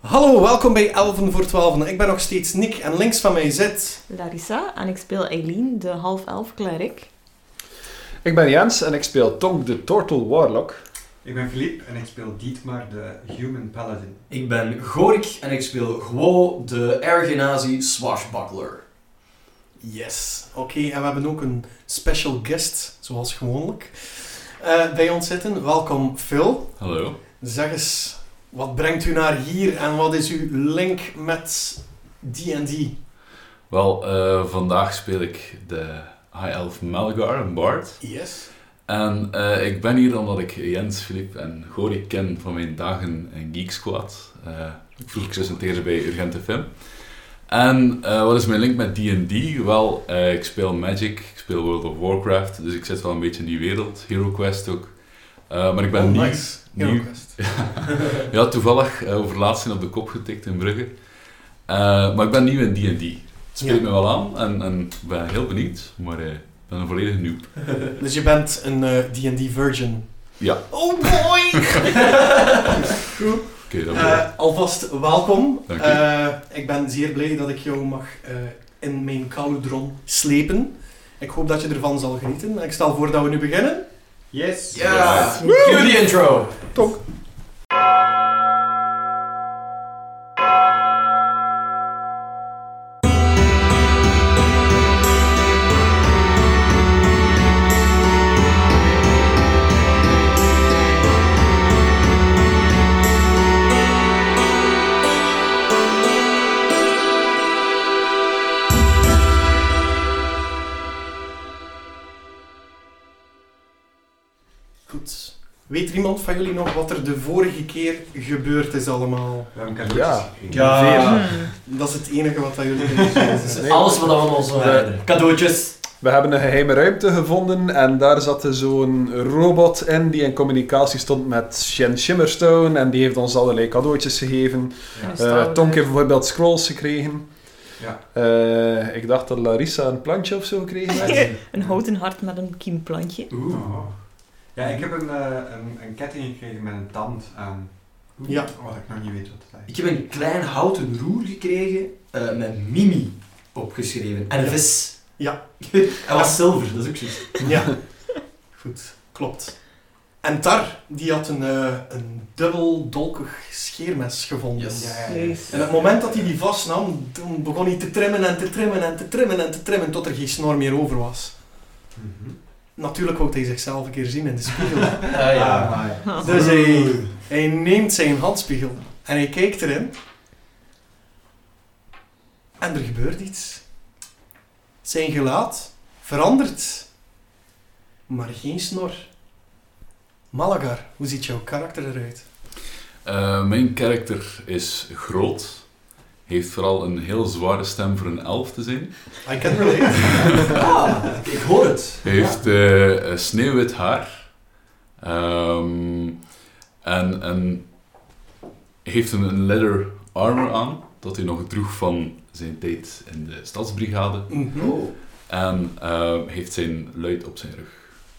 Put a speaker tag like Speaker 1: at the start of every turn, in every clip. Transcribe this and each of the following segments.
Speaker 1: Hallo, welkom bij Elven voor 12. Ik ben nog steeds Nick en links van mij zit.
Speaker 2: Larissa en ik speel Eileen, de half-elf klerk.
Speaker 3: Ik ben Jens en ik speel Tonk de Turtle Warlock.
Speaker 4: Ik ben Philippe en ik speel Dietmar de Human Paladin.
Speaker 5: Ik ben Gorik en ik speel Gwo, de Ergenazi Swashbuckler.
Speaker 1: Yes. Oké, en we hebben ook een special guest, zoals gewoonlijk, eh, bij ons zitten. Welkom Phil.
Speaker 6: Hallo.
Speaker 1: Zeg eens, wat brengt u naar hier en wat is uw link met D&D?
Speaker 6: Wel, eh, vandaag speel ik de High Elf Malgar, een bard.
Speaker 1: Yes.
Speaker 6: En eh, ik ben hier omdat ik Jens, Filip en Gorik ken van mijn dagen in Geek Squad. Eh, vroeger presenteerde bij Urgente Film. En eh, wat is mijn link met D&D? Wel, eh, ik speel Magic, ik speel World of Warcraft, dus ik zit wel een beetje in die wereld. Hero Quest ook. Eh, maar ik ben
Speaker 1: Oh,
Speaker 6: nieuw.
Speaker 1: nice.
Speaker 6: nieuw.
Speaker 1: Hero Quest.
Speaker 6: ja, toevallig eh, over laatst zijn op de kop getikt in Brugge. Eh, maar ik ben nieuw in D&D. Het spreekt
Speaker 1: Ja.
Speaker 6: me wel aan en, en ik ben heel benieuwd, maar eh, ik ben een volledige noob.
Speaker 1: Dus je bent een eh, D&D virgin.
Speaker 6: Ja.
Speaker 1: Oh boy! Goed.
Speaker 6: Oké, dat
Speaker 1: Eh, alvast welkom.
Speaker 6: Dank u.
Speaker 1: Eh, ik ben zeer blij dat ik jou mag eh, in mijn kaludron slepen. Ik hoop dat je ervan zal genieten. Ik stel voor dat we nu beginnen.
Speaker 4: Yes!
Speaker 2: Dus
Speaker 5: Ja! Cue the intro!
Speaker 1: Goed. Weet er iemand van jullie nog wat er de vorige keer gebeurd is allemaal?
Speaker 4: We hebben cadeautjes
Speaker 3: Ja.
Speaker 4: gekregen.
Speaker 5: Ja.
Speaker 2: Hmm,
Speaker 1: Dat is het enige wat dat jullie kunnen Eh,
Speaker 3: Nee.
Speaker 5: Alles wat we ons
Speaker 3: De-
Speaker 5: cadeautjes.
Speaker 3: We hebben een geheime ruimte gevonden en daar zat zo'n robot in die in communicatie stond met Shen Shimmerstone en die heeft ons allerlei cadeautjes gegeven.
Speaker 4: Ja.
Speaker 3: Eh Tonk heeft bijvoorbeeld scrolls gekregen.
Speaker 4: Ja.
Speaker 3: Eh, ik dacht dat Larissa een plantje of zo gekregen had.
Speaker 2: een houten hart met een kiemplantje.
Speaker 4: Oh. Ja, ik heb een, eh, een, een ketting gekregen met een tand aan.
Speaker 1: Ja.
Speaker 4: Wat ik nog niet weet wat het is.
Speaker 5: Ik heb een klein houten roer gekregen eh, met Mimi opgeschreven. En een
Speaker 1: Ja.
Speaker 5: vis.
Speaker 1: Ja.
Speaker 5: en was zilver, dat is ook juist.
Speaker 1: Ja. Goed. Klopt. En Tar, die had een, eh, een dubbel dolkig scheermes gevonden.
Speaker 5: Yes.
Speaker 1: En het moment dat hij die vastnam, toen begon hij te trimmen en te trimmen en te trimmen en te trimmen tot er geen snor meer over was.
Speaker 4: Mhm.
Speaker 1: Natuurlijk wou hij zichzelf een keer zien in de spiegel.
Speaker 5: Ah
Speaker 4: Ah,
Speaker 5: ja.
Speaker 4: amai.
Speaker 1: dus hij, hij neemt zijn handspiegel en hij kijkt erin. En er gebeurt iets. Zijn gelaat verandert. Maar geen snor. Malagar, hoe ziet jouw karakter eruit?
Speaker 6: Eh, mijn karakter is groot, heeft vooral een heel zware stem voor een elf dus te zijn.
Speaker 1: I can relate.
Speaker 5: Ah, ik- ik hoor het.
Speaker 6: Hij heeft eh, eh, sneeuwwit haar. Ehm, en, en heeft een, een leather armor aan, dat hij nog droeg van zijn tijd in de stadsbrigade.
Speaker 1: Mhm.
Speaker 5: Oh.
Speaker 6: En eh, heeft zijn luid op zijn rug.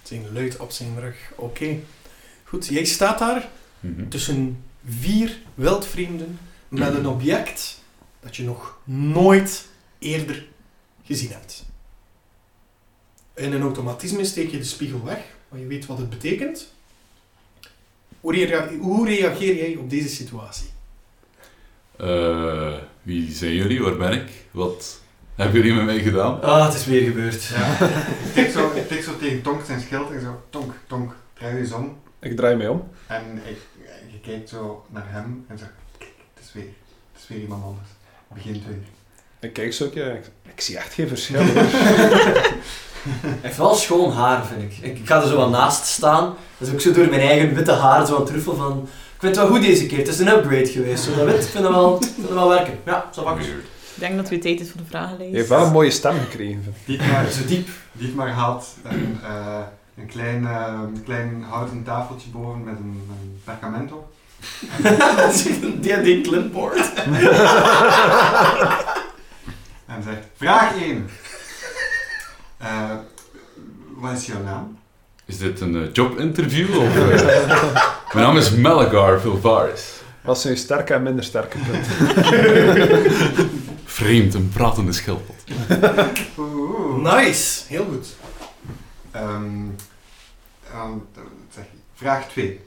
Speaker 1: Zijn luid op zijn rug. Oké. Goed, jij staat daar
Speaker 6: Mhm.
Speaker 1: tussen vier wildvreemden met
Speaker 6: Mhm.
Speaker 1: een object dat je nog nooit eerder gezien hebt. In een automatisme steek je de spiegel weg, maar je weet wat het betekent. Hoe, rea- hoe reageer jij op deze situatie?
Speaker 6: Eh, wie zijn jullie? Waar ben ik? Wat hebben jullie met mij gedaan?
Speaker 5: Ah, het is weer gebeurd.
Speaker 4: Ja. ik, tik zo, ik tik zo tegen Tonk zijn schild en zo, Tonk, Tonk, draai je eens om.
Speaker 3: Ik draai mij om.
Speaker 4: En ik, je kijkt zo naar hem en zegt, kijk, het is weer, het is weer iemand anders. Het begint weer.
Speaker 3: Ik kijk zo, ja, ik, eh, ik zie echt geen verschil. hoor.
Speaker 5: Hij heeft wel schoon haar, vind ik. ik. Ik ga er zo aan naast staan. Dat is ook zo door mijn eigen witte haar, zo aan het truffel van... Ik vind het wel goed deze keer, het is een upgrade geweest. Zo dat wit, ik vind dat wel, ik vind dat wel werken. Ja, zo wakker.
Speaker 6: Weird.
Speaker 2: Ik denk dat het weer tijd is voor de
Speaker 3: Je
Speaker 2: vragenlijst.
Speaker 3: heeft wel een mooie stem gekregen.
Speaker 4: Dietmar,
Speaker 5: Zo diep.
Speaker 4: Dietmar haalt een, eh, een klein, eh, een klein houten tafeltje boven met een, een perkament op.
Speaker 5: dat is echt een D&D clipboard.
Speaker 4: En zegt, vraag 1. Eh, wat is jouw naam?
Speaker 6: Is dit een eh, jobinterview? Of, eh? Mijn naam is Malagar Vilvaris.
Speaker 3: Wat zijn je sterke en minder sterke punten?
Speaker 6: Vreemd, een pratende schildpad.
Speaker 4: Oeh.
Speaker 1: Nice, heel goed.
Speaker 4: Nou. Ehm, ehm, zeg, vraag 2.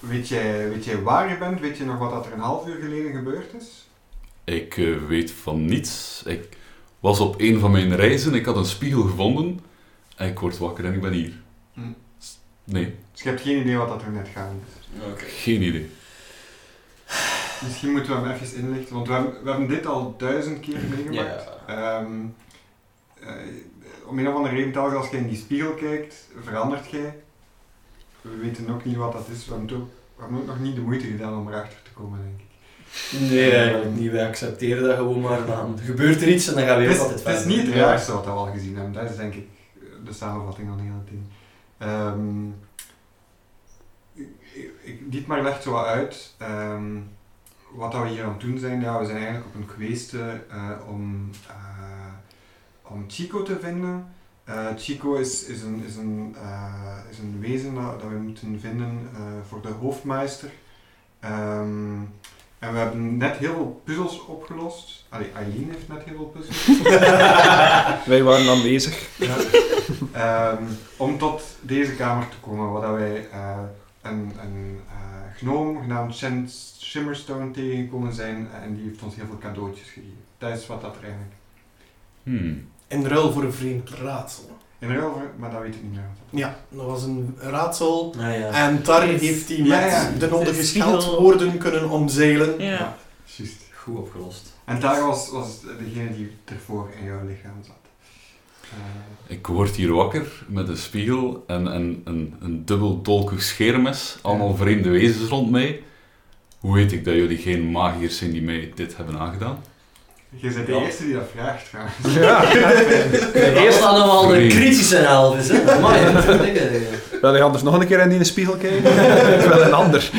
Speaker 4: weet, jij, weet jij waar je bent? Weet je nog wat dat er een half uur geleden gebeurd is?
Speaker 6: Ik eh, weet van niets. Ik was op een van mijn reizen, ik had een spiegel gevonden. En ik word wakker en ik ben hier.
Speaker 4: Hm.
Speaker 6: Nee,
Speaker 4: Dus je hebt geen idee wat dat er net gaande is.
Speaker 6: geen idee.
Speaker 4: Misschien moeten we hem even inlichten, want we hebben, we hebben dit al duizend keer meegemaakt. Ehm, eh, om een of andere reden, telkens als je in die spiegel kijkt, verandert jij. We weten ook niet wat dat is. We hebben, het ook, we hebben ook nog niet de moeite gedaan om erachter te komen, denk ik.
Speaker 5: Nee, eigenlijk niet. Wij accepteren dat gewoon maar. Dan gebeurt er iets en dan gaan we
Speaker 4: Het
Speaker 5: weer
Speaker 4: is,
Speaker 5: altijd
Speaker 4: het is
Speaker 5: verder.
Speaker 4: niet het raarste wat we al gezien hebben. Dat is denk ik de samenvatting van het hele ding. Ehm ik- ik- Dietmar legt zo wat uit ehm, wat dat we hier aan het doen zijn. Ja, we zijn eigenlijk op een queste eh, om, eh, om Chico te vinden. Eh, Chico is, is, een, is, een, eh, is een wezen dat, dat we moeten vinden eh, voor de hoofdmeester. Ehm, en we hebben net heel veel puzzels opgelost. Allee, Aileen heeft net heel veel puzzels
Speaker 3: Wij waren aanwezig.
Speaker 4: ja. Ehm, om tot deze kamer te komen, waar dat wij eh, een, een eh gnoom genaamd Shen Shimmerstone tegengekomen zijn eh, en die heeft ons heel veel cadeautjes gegeven. Dat is wat dat er eigenlijk.
Speaker 6: Hmm.
Speaker 1: In ruil voor een vreemd raadsel.
Speaker 4: In ruil voor, maar dat weet ik niet meer. wat dat is.
Speaker 1: Ja, dat was een raadsel.
Speaker 5: Ah, ja.
Speaker 1: En daar heeft hij met
Speaker 4: Ja, ja.
Speaker 1: de nodige
Speaker 2: De spiegel.
Speaker 1: scheldwoorden kunnen omzeilen.
Speaker 2: Ja.
Speaker 4: Juist.
Speaker 5: Goed opgelost.
Speaker 4: En daar was, was degene die ervoor in jouw lichaam zat. Eh,
Speaker 6: Ik word hier wakker met een spiegel en, en een, een dubbel dolkig scheermes. Allemaal vreemde wezens rond mij. Hoe weet ik dat jullie geen magiërs zijn die mij dit hebben aangedaan?
Speaker 4: je bent de
Speaker 5: Ja.
Speaker 4: eerste die dat vraagt trouwens.
Speaker 5: Eerst allemaal nou de
Speaker 6: Drie.
Speaker 5: kritische helft is, hè? Amai, dat vind ik, eh.
Speaker 3: Wil je anders nog een keer in die spiegel kijken? Ik wil een ander.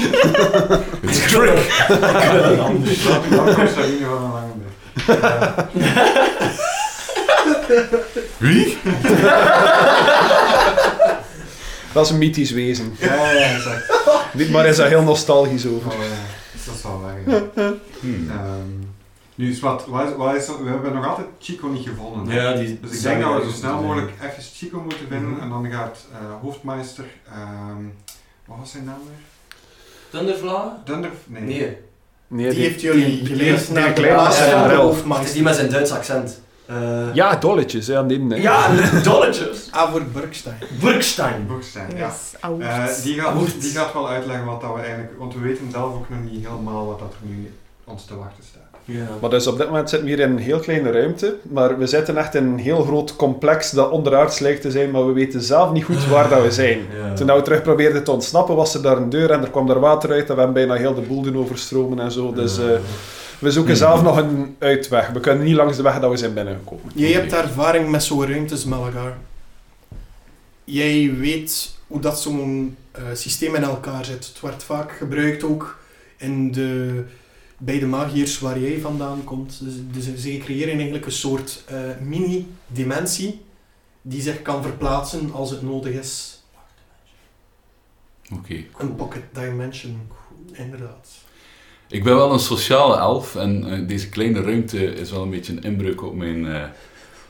Speaker 6: It's a trick!
Speaker 4: Dan dan komt Sabine van een lange weg. Eh,
Speaker 6: Wie?
Speaker 3: Dat is een mythisch wezen.
Speaker 4: ja, ja, ja, exact.
Speaker 3: Niet maar is daar heel nostalgisch over.
Speaker 4: Oh, ja. Dat is wel waar. ja.
Speaker 6: Hmm.
Speaker 4: Ehm, nu is wat, wat is, wat is- we hebben nog altijd Chico niet gevonden. hè?
Speaker 5: Ja, die
Speaker 4: Dus ik denk dat we zo snel
Speaker 5: zijn.
Speaker 4: mogelijk even Chico moeten vinden
Speaker 5: Mhm.
Speaker 4: en dan gaat eh, hoofdmeister, ehm, wat was zijn naam weer?
Speaker 5: Thundervlagen?
Speaker 4: Dunder? Nee.
Speaker 5: Nee,
Speaker 3: Nee,
Speaker 1: Die
Speaker 3: die-
Speaker 1: heeft jullie
Speaker 5: die-
Speaker 1: geleerd
Speaker 5: die-
Speaker 1: naar de
Speaker 3: die-
Speaker 4: Ah,
Speaker 1: baas
Speaker 5: die-
Speaker 1: van de
Speaker 3: die-
Speaker 5: het is
Speaker 1: hoofdmacht.
Speaker 5: die met zijn Duits accent. Eh,
Speaker 3: Ja, dolletjes, hè, aan die nee.
Speaker 5: ja, de Dolletjes!
Speaker 4: Ah,
Speaker 1: Avor Burkstein.
Speaker 5: Burkstein!
Speaker 4: Borgstein, ja.
Speaker 2: Yes, oud.
Speaker 4: Eh, die,
Speaker 5: Oud.
Speaker 4: gaat, die gaat wel uitleggen wat dat we eigenlijk, want we weten zelf ook nog niet helemaal wat dat er nu ons te wachten staat.
Speaker 5: Ja.
Speaker 3: Maar dus op dit moment zitten we hier in een heel kleine ruimte. Maar we zitten echt in een heel groot complex dat onderaards lijkt te zijn, maar we weten zelf niet goed waar
Speaker 6: Ah,
Speaker 3: dat we zijn.
Speaker 5: Ja.
Speaker 3: Toen dat we terug probeerden te ontsnappen, was er daar een deur en er kwam daar water uit en we hebben bijna heel de boel doen overstromen en zo. Dus eh, we
Speaker 6: Hmm.
Speaker 3: zoeken zelf nog een uitweg. We kunnen niet langs de weg dat we zijn binnengekomen.
Speaker 1: Jij hebt ervaring met zo'n ruimtes, Malagar. Jij weet hoe dat zo'n eh, systeem in elkaar zit. Het wordt vaak gebruikt ook in de, bij de magiërs waar jij vandaan komt. Dus, dus ze creëren eigenlijk een soort eh, mini-dimensie die zich kan verplaatsen als het nodig is.
Speaker 6: Oké.
Speaker 1: Een pocket dimension, inderdaad.
Speaker 6: Ik ben wel een sociale elf en eh, deze kleine ruimte is wel een beetje een inbreuk op mijn, eh,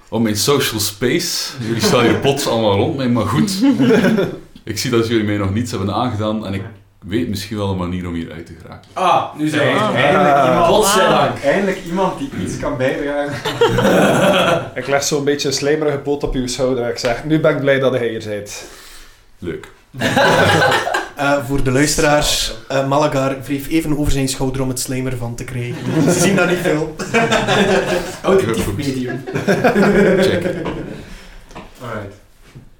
Speaker 6: op mijn social space. Jullie staan hier plots allemaal rond mij, maar goed. ik zie dat jullie mij nog niets hebben aangedaan en ik weet misschien wel een manier om hier uit te geraken.
Speaker 5: Ah,
Speaker 6: Dus
Speaker 5: nu zijn we
Speaker 4: Eindelijk,
Speaker 5: er.
Speaker 4: eindelijk
Speaker 2: Oh,
Speaker 3: Ah.
Speaker 5: Godzijdank.
Speaker 4: iemand,
Speaker 5: Godzijdank.
Speaker 4: eindelijk iemand die iets kan bijdragen.
Speaker 3: Ik leg zo'n beetje een slijmerige poot op uw schouder en ik zeg, nu ben ik blij dat hij hier bent.
Speaker 6: Leuk.
Speaker 1: Eh, voor de luisteraars, eh, Malagar wreef even over zijn schouder om het slijm ervan te krijgen. Ze zien dat niet veel.
Speaker 5: Auditief medium.
Speaker 6: Check.
Speaker 4: Alright.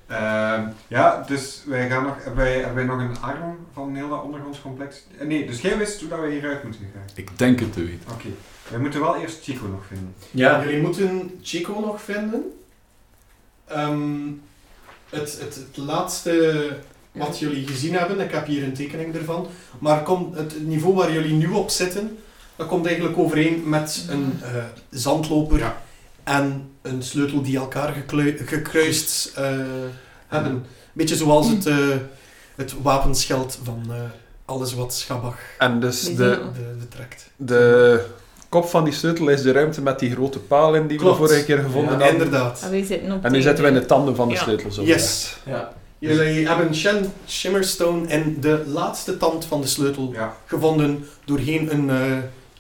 Speaker 4: Ehm, ja, dus wij gaan nog, hebben, wij, hebben wij nog een arm van heel dat ondergrondscomplex? Eh, Nee, dus jij wist hoe dat we hieruit moeten gaan.
Speaker 6: Ik denk het te weten.
Speaker 4: Oké, wij moeten wel eerst Chico nog vinden.
Speaker 5: Ja.
Speaker 1: Jullie moeten Chico nog vinden. Ehm, het, het, het laatste wat jullie gezien hebben, ik heb hier een tekening ervan, maar komt het niveau waar jullie nu op zitten, dat komt eigenlijk overeen met een eh, zandloper
Speaker 4: Ja.
Speaker 1: en een sleutel die elkaar geklui- gekruist eh, hebben. Beetje zoals het, eh, het wapenschild van eh alles wat schabag
Speaker 3: En dus
Speaker 2: Die
Speaker 3: de,
Speaker 2: zien
Speaker 1: de- betrekt.
Speaker 3: de kop van die sleutel is de ruimte met die grote paal in die
Speaker 1: Klopt.
Speaker 3: we de vorige keer gevonden
Speaker 1: Ja,
Speaker 3: hadden.
Speaker 1: inderdaad.
Speaker 2: En we Ah, zitten op
Speaker 3: En nu zitten we in de tanden van de
Speaker 2: Ja.
Speaker 3: sleutel. Zo
Speaker 1: Yes.
Speaker 5: Ja.
Speaker 1: Jullie hebben Shen, Shimmerstone en de laatste tand van de sleutel
Speaker 4: Ja,
Speaker 1: gevonden doorheen een eh,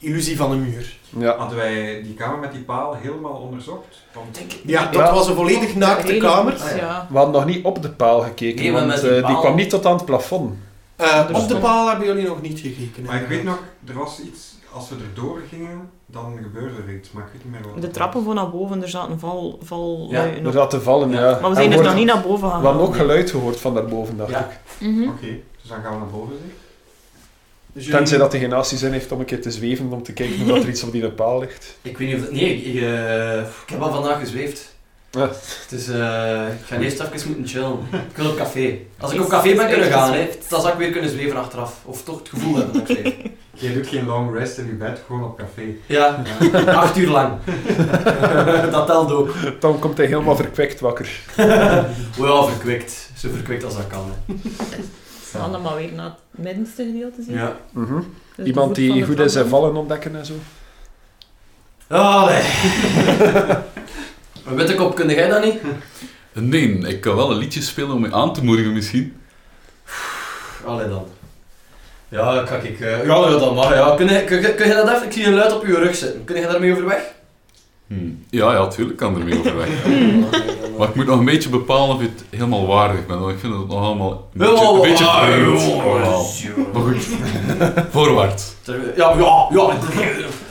Speaker 1: illusie van een muur.
Speaker 3: Ja.
Speaker 4: hadden wij die kamer met die paal helemaal onderzocht? Want
Speaker 5: Denk ik
Speaker 1: Ja,
Speaker 5: niet.
Speaker 1: dat
Speaker 3: Ja.
Speaker 1: was een volledig naakte kamer.
Speaker 5: Ah,
Speaker 2: Ja.
Speaker 3: We hadden nog niet op de paal gekeken,
Speaker 5: Nee, maar
Speaker 3: want
Speaker 5: met
Speaker 3: eh,
Speaker 5: die
Speaker 3: die,
Speaker 5: paal-
Speaker 3: kwam niet tot aan het plafond.
Speaker 1: Eh,
Speaker 2: Dus
Speaker 1: op de
Speaker 2: dan-
Speaker 1: paal hebben jullie nog niet gekeken.
Speaker 4: Maar ik weet nog, er was iets, als we erdoor gingen, dan gebeurde er iets, maar ik weet niet meer wat.
Speaker 2: De trappen van naar boven, er zaten val, val
Speaker 5: Ja,
Speaker 2: luiken
Speaker 3: Er
Speaker 2: op.
Speaker 3: zat te vallen, ja.
Speaker 5: Ja.
Speaker 2: Maar we
Speaker 3: En
Speaker 2: zijn dus
Speaker 3: hoort-
Speaker 2: nog niet naar boven
Speaker 3: We hadden
Speaker 2: gegaan.
Speaker 3: ook geluid gehoord van daarboven, dacht
Speaker 5: Ja.
Speaker 3: ik.
Speaker 2: Mhm.
Speaker 4: Oké, dus dan gaan we naar boven zeg.
Speaker 1: Dus jullie-
Speaker 3: Tenzij dat de genatie zin heeft om een keer te zweven om te kijken of dat er iets op die paal ligt.
Speaker 5: Ik weet niet of dat... Nee, ik, ik, eh, ik heb al vandaag gezweefd.
Speaker 3: Ja.
Speaker 5: Dus eh, ik ga eerst even moeten chillen. Ik wil op café. Als ik
Speaker 2: Is-
Speaker 5: op café ben
Speaker 2: is
Speaker 5: kunnen gaan, hè,
Speaker 2: uitgezweefd.
Speaker 5: dan zou ik weer kunnen zweven achteraf. Of toch het gevoel hebben dat ik zweef.
Speaker 4: Jij doet geen long rest in je bed, gewoon op café.
Speaker 5: Ja,
Speaker 4: Ja.
Speaker 5: acht uur lang. dat telt ook.
Speaker 3: Dan komt hij helemaal verkwikt wakker.
Speaker 5: Wel verkwikt. Zo verkwikt als dat kan. hè.
Speaker 2: We gaan dan maar weer naar het middenste gedeelte zien.
Speaker 5: Ja.
Speaker 3: Mhm.
Speaker 2: Dus de voet
Speaker 3: Iemand
Speaker 2: van
Speaker 3: die
Speaker 2: de
Speaker 3: goed is
Speaker 2: trap.
Speaker 3: in vallen ontdekken en zo.
Speaker 5: Allee. Een witte kop, kun jij dat niet?
Speaker 6: Nee, ik kan wel een liedje spelen om je aan te moedigen misschien.
Speaker 5: Allee dan. Ja, kijk ik. eh, ja, ja, dat mag. Ja. Kun, je, kun, je- kun je dat even? Ik zie een luid op je rug zitten. Kun je daarmee overweg?
Speaker 6: Hm. Ja, ja, tuurlijk kan er mee overweg. Maar
Speaker 5: Wat?
Speaker 6: ik moet nog een beetje bepalen of je het helemaal waardig bent, want ik vind dat het nog allemaal een beetje,
Speaker 5: Wel,
Speaker 6: een beetje
Speaker 5: ah,
Speaker 6: vreemd.
Speaker 5: jongens,
Speaker 6: Wel.
Speaker 5: jongens.
Speaker 6: Maar goed, voorwaarts.
Speaker 5: Ter- Ja, ja, ja.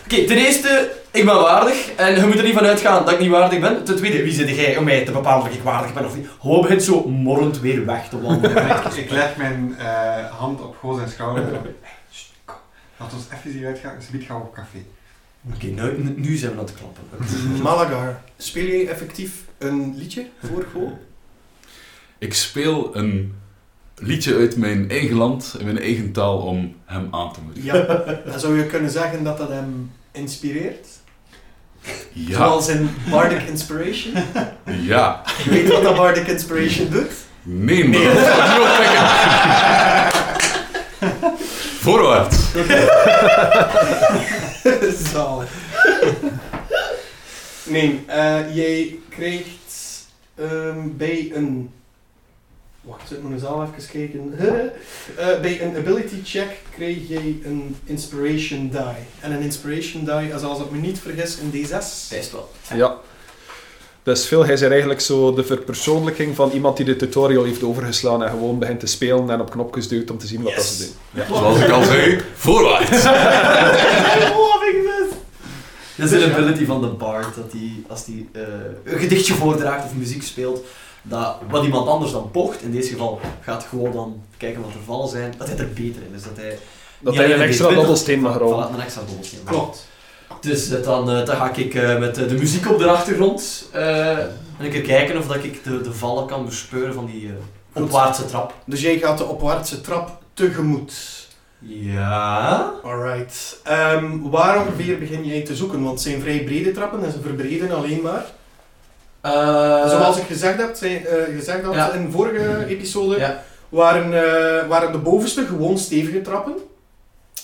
Speaker 5: Oké, ten eerste, ik ben waardig en je moet er niet van uitgaan dat ik niet waardig ben. Ten tweede, wie zit jij om mij te bepalen of ik waardig ben of niet? Gewoon begint zo morrend weer weg te wandelen.
Speaker 4: Ja, ik, ik leg mijn eh, hand op Goos zijn schouder. Hey, sst, kom. Laat ons even hieruit gaan, ze gaan we op café.
Speaker 5: Oké, nou nu, nu zijn we aan het klappen.
Speaker 1: Malagar, speel je effectief een liedje voor Go?
Speaker 6: Ik speel een liedje uit mijn eigen land, in mijn eigen taal, om hem aan te moedigen.
Speaker 1: Ja. Dan zou je kunnen zeggen dat dat hem inspireert.
Speaker 6: Ja,
Speaker 1: Zoals in Bardic Inspiration.
Speaker 6: ja.
Speaker 1: Je weet wat dat Bardic Inspiration doet?
Speaker 6: Nee, nee, dat zal ik niet oppikken. Voorwaarts.
Speaker 1: Zalig. Nee, eh, jij krijgt ehm, bij een... Wacht, ik moet eens al even kijken. Eh, bij een ability check krijg jij een inspiration die. En een inspiration die is, als ik me niet vergis, een D6.
Speaker 5: Best wel.
Speaker 3: Ja. Dus Phil, hij is hier eigenlijk zo de verpersoonlijking van iemand die de tutorial heeft overgeslaan en gewoon begint te spelen en op knopjes duwt om te zien wat dat ze
Speaker 1: Yes.
Speaker 3: doen.
Speaker 6: Zoals ik al zei, voorwaarts.
Speaker 1: loving this!
Speaker 5: Dat is een ability van de bard, dat die, als die eh, een gedichtje voordraagt of muziek speelt, dat wat iemand anders dan pocht, in deze geval gaat gewoon dan kijken wat er vallen zijn, dat hij er beter in is. Dat hij,
Speaker 3: Dat
Speaker 5: niet
Speaker 3: hij
Speaker 5: alleen
Speaker 3: een extra
Speaker 5: weet-
Speaker 3: dobbelsteen mag rollen.
Speaker 5: Voilà, een extra dobbelsteen.
Speaker 1: Klopt.
Speaker 5: Dus eh, dan, eh, dan ga ik eh, met eh, de muziek op de achtergrond eh, en een keer kijken of dat ik de, de vallen kan bespeuren van die eh, opwaartse trap.
Speaker 1: Dus jij gaat de opwaartse trap tegemoet.
Speaker 5: Ja.
Speaker 1: Alright. Ehm, waar ongeveer begin jij te zoeken? Want het zijn vrij brede trappen en ze verbreden alleen maar.
Speaker 5: Eh,
Speaker 1: Zoals ik gezegd heb, zijn, eh, gezegd had
Speaker 5: Ja. Mhm.
Speaker 1: in vorige episode,
Speaker 5: Ja.
Speaker 1: waren, eh, waren de bovenste gewoon stevige trappen.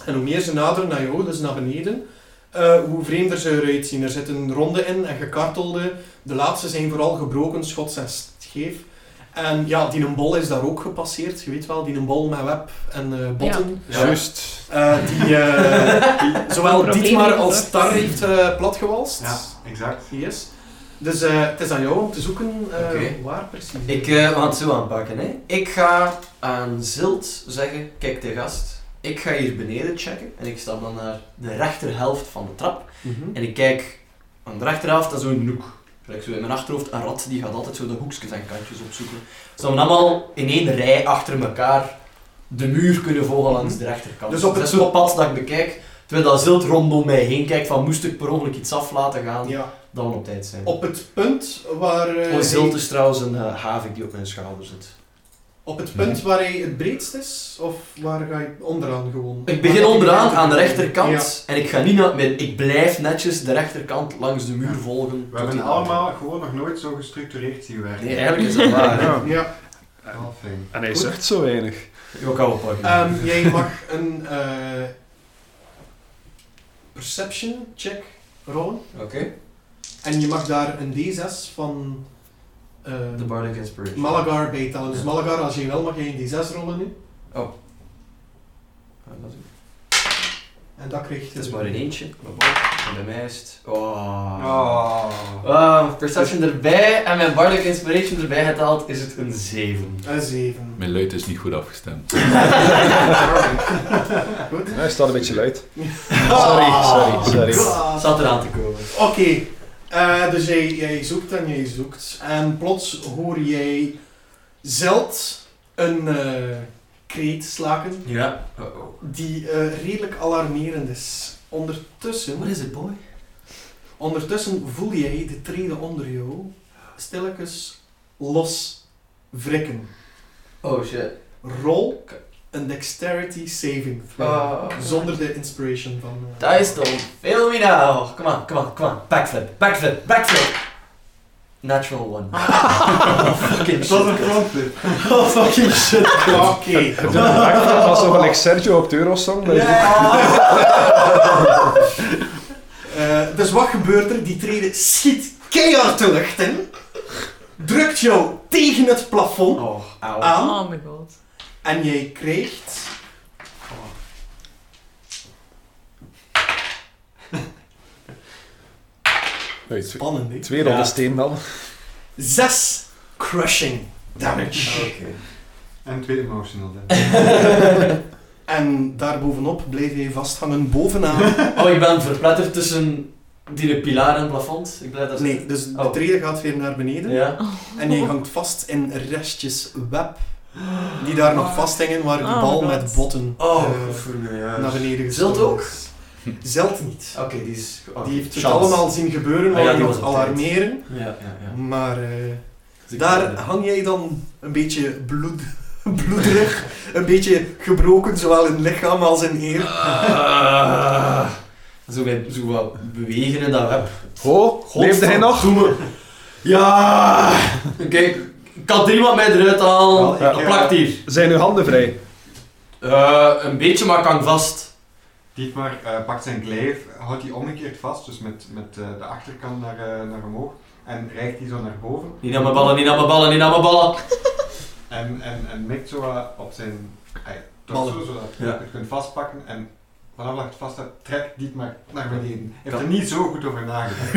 Speaker 1: En hoe meer ze naderen naar jou, dus naar beneden, eh, hoe vreemder ze eruit zien. Er zitten ronden in en gekartelde. De laatste zijn vooral gebroken, schots en scheef. En ja, die een bol is daar ook gepasseerd. Je weet wel, die een bol met web en eh, botten.
Speaker 5: Ja.
Speaker 3: Juist.
Speaker 1: Eh, die, eh, die zowel
Speaker 2: Probleem
Speaker 1: Dietmar
Speaker 2: heeft
Speaker 1: als
Speaker 2: gezorgd.
Speaker 1: Tar heeft eh, platgewalst.
Speaker 4: Ja, exact.
Speaker 1: Yes. Dus eh, het is aan jou om te zoeken eh,
Speaker 5: Oké.
Speaker 1: waar precies.
Speaker 5: Ik, eh, we gaan het zo aanpakken, hè. Ik ga aan Zilt zeggen, kijk de gast, ik ga hier beneden checken. En ik stap dan naar de rechterhelft van de trap.
Speaker 1: Mhm.
Speaker 5: En ik kijk aan de rechterhelft, dat is zo'n noek. Gelijk zo in mijn achterhoofd, een rat die gaat altijd zo de hoekjes en kantjes opzoeken. Dus dan allemaal in één rij achter elkaar de muur kunnen volgen langs de rechterkant.
Speaker 1: Dus op
Speaker 5: dat
Speaker 1: het-
Speaker 5: is zo'n pad dat ik bekijk, terwijl dat Zilt rondom mij heen kijkt van moest ik per ongeluk iets af laten gaan,
Speaker 1: Ja.
Speaker 5: dan op tijd zijn.
Speaker 1: Op het punt waar eh,
Speaker 5: Oh, Zilt
Speaker 1: hij-
Speaker 5: is trouwens een eh, havik die op mijn schouder zit.
Speaker 1: op het
Speaker 5: Mhm.
Speaker 1: punt waar hij het breedst is, of waar ga je onderaan gewoon?
Speaker 5: Ik begin onderaan aan de
Speaker 1: Ja.
Speaker 5: rechterkant en ik ga niet naar midden. Ik blijf netjes de rechterkant langs de muur volgen.
Speaker 4: We
Speaker 5: tot
Speaker 4: hebben
Speaker 5: die
Speaker 4: allemaal gewoon nog nooit zo gestructureerd zien werken.
Speaker 5: Nee, eigenlijk is dat waar. hè.
Speaker 3: Ja.
Speaker 1: Ja.
Speaker 4: Wel fijn.
Speaker 3: En hij
Speaker 1: Goed.
Speaker 3: zucht zo weinig.
Speaker 5: Ik kan wel pakken.
Speaker 1: Ehm, jij mag een eh, perception check rollen.
Speaker 5: Oké.
Speaker 1: En je mag daar een D6 van eh,
Speaker 5: De Bardic Inspiration.
Speaker 1: Malagar bij tellen. Dus
Speaker 5: Ja. Oh.
Speaker 1: Malagar, als je wel mag, jij een D6 rollen nu.
Speaker 5: Ah, dat is-
Speaker 1: En dat krijg je. dus
Speaker 5: Het is maar een eentje. Maar bon. En bij mij is het...
Speaker 4: Ah.
Speaker 5: Oh.
Speaker 4: Oh.
Speaker 5: Ah, perception erbij en mijn Bardic Inspiration erbij gehaald is het een 7.
Speaker 1: Een 7.
Speaker 6: Mijn luid is niet goed afgestemd.
Speaker 1: Goed.
Speaker 3: Hij staat een beetje luid. Sorry, sorry, sorry.
Speaker 1: Ah.
Speaker 5: Zat eraan te komen.
Speaker 1: Oh. Oké, eh, dus jij, jij zoekt en jij zoekt. En plots hoor jij zeld een eh, kreet slaken
Speaker 5: Ja. Oh oh.
Speaker 1: die eh, redelijk alarmerend is. Ondertussen,
Speaker 5: What is it, boy?
Speaker 1: ondertussen voel jij de treden onder jou stilletjes los wrikken.
Speaker 5: Oh shit.
Speaker 1: Rol een dexterity saving throw.
Speaker 5: Ah.
Speaker 1: Zonder de inspiration van... eh,
Speaker 5: Dice don't fail me now. Come on, come on, come on. Backflip, backflip, backflip. Natural one. oh, fucking
Speaker 4: Het was een
Speaker 5: shit.
Speaker 4: frontflip.
Speaker 5: Oh, fucking shit.
Speaker 1: Oké.
Speaker 3: Ik doe een backflip als zo gelijk Sergio op de Eurosong. Dat is ook-
Speaker 1: Eh, dus wat gebeurt er? Die treden schiet keihard de lucht in, drukt jou tegen het plafond
Speaker 5: Oh,
Speaker 4: Ah,
Speaker 5: auw.
Speaker 1: aan
Speaker 2: Oh my god.
Speaker 1: en jij krijgt.
Speaker 3: Nee, twee-
Speaker 1: Spannend, hè?
Speaker 3: Twee ronde steen dan.
Speaker 1: Zes crushing damage.
Speaker 5: Oké.
Speaker 4: En twee emotional damage.
Speaker 1: En daarbovenop blijf jij vasthangen bovenaan.
Speaker 5: Oh, ik ben verpletterd tussen die pilaar en het plafond. Ik blijf dat
Speaker 1: Nee, dus de
Speaker 5: Oh.
Speaker 1: treden gaat weer naar beneden.
Speaker 5: Ja.
Speaker 1: En jij hangt vast in restjes web die daar nog vasthingen, waar de
Speaker 2: Oh,
Speaker 1: bal
Speaker 2: God.
Speaker 1: met botten
Speaker 5: Oh,
Speaker 1: eh,
Speaker 5: voor mij, ja.
Speaker 1: naar beneden
Speaker 5: Zult
Speaker 1: gestoken
Speaker 5: ook?
Speaker 1: is. Zelt niet.
Speaker 5: Oké, die is... oké,
Speaker 1: Die heeft het
Speaker 5: chance.
Speaker 1: allemaal zien gebeuren,
Speaker 5: Ah,
Speaker 1: maar
Speaker 5: ja,
Speaker 1: die
Speaker 5: die
Speaker 1: moet
Speaker 5: was altijd.
Speaker 1: alarmeren.
Speaker 5: Ja, ja, ja.
Speaker 1: Maar eh,
Speaker 5: Dus ik-
Speaker 1: daar hang jij dan een beetje bloed, bloederig, een beetje gebroken, zowel in lichaam als in eer.
Speaker 5: Ah. zo, bij, zo wat bewegen in dat web.
Speaker 3: Ho, leefde hij nog?
Speaker 5: Doe me. Ja! Kijk, kan er iemand mij eruit halen?
Speaker 4: Ja.
Speaker 5: Dat plakt hier.
Speaker 3: Zijn uw handen vrij?
Speaker 5: Eh, een beetje, maar ik hang vast.
Speaker 4: Dietmar eh, pakt zijn kleef, houdt die omgekeerd vast, dus met, met eh, de achterkant naar, eh, naar omhoog. En reikt die zo naar boven.
Speaker 5: Niet aan mijn ballen, niet aan mijn ballen, niet aan mijn ballen.
Speaker 4: En, en, en mikt zo wat op zijn ah ja, torso,
Speaker 1: Ballen.
Speaker 4: zodat je
Speaker 5: Ja.
Speaker 4: het kunt vastpakken. En vanaf dat je het vast hebt, trekt Dietmar naar beneden. Hij heeft
Speaker 5: Kan-
Speaker 4: er niet zo goed over nagedacht.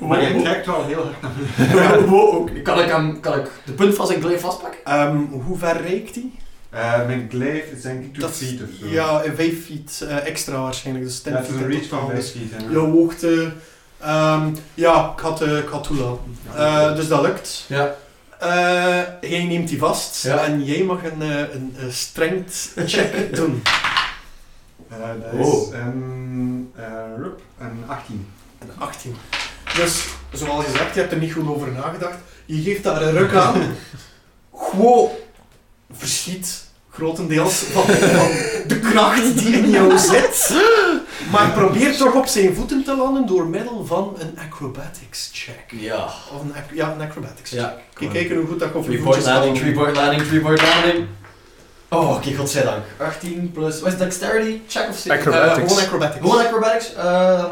Speaker 4: maar hij trekt wel heel hard naar beneden.
Speaker 5: Wow, ook. Kan ik, hem, kan ik de punt van zijn kleef vastpakken?
Speaker 1: Ehm, hoe ver reikt die?
Speaker 4: Eh, mijn kleef is denk ik 2 feet of zo.
Speaker 1: Ja, eh, 5 feet eh, extra waarschijnlijk. Dus 10
Speaker 4: dat is
Speaker 1: feet
Speaker 4: een
Speaker 1: in
Speaker 4: reach van
Speaker 1: totaal.
Speaker 4: 5 feet. hè.
Speaker 1: Jouw hoogte. ehm, ja, ik had, eh, ik had toelaten. Eh, dus dat lukt.
Speaker 5: Ja.
Speaker 1: Eh, jij neemt die vast
Speaker 5: Ja.
Speaker 1: en jij mag een, eh, een, eh, strength check doen.
Speaker 4: Eh, dat
Speaker 5: Wow.
Speaker 3: Oh.
Speaker 4: is een, eh, rup, een 18.
Speaker 1: Een 18. Dus, zoals je zegt, je hebt er niet goed over nagedacht. Je geeft daar een ruk aan. Gewoon verschiet grotendeels van, van de kracht die in jou zit. Maar probeer toch op zijn voeten te landen door middel van een acrobatics check.
Speaker 5: Ja.
Speaker 1: Of een, ac- ja, een acrobatics check.
Speaker 5: Ja.
Speaker 1: Kijk, kijken hoe goed dat ik op je
Speaker 5: Three-point
Speaker 1: voetjes
Speaker 5: landing,
Speaker 1: kan.
Speaker 5: three-point landing, three-point landing. Oh, oké, godzijdank. 18 plus... Wat is het, dexterity? Check of... save?
Speaker 3: Acrobatics.
Speaker 5: Eh,
Speaker 1: Gewoon acrobatics.
Speaker 5: Gewoon acrobatics. eh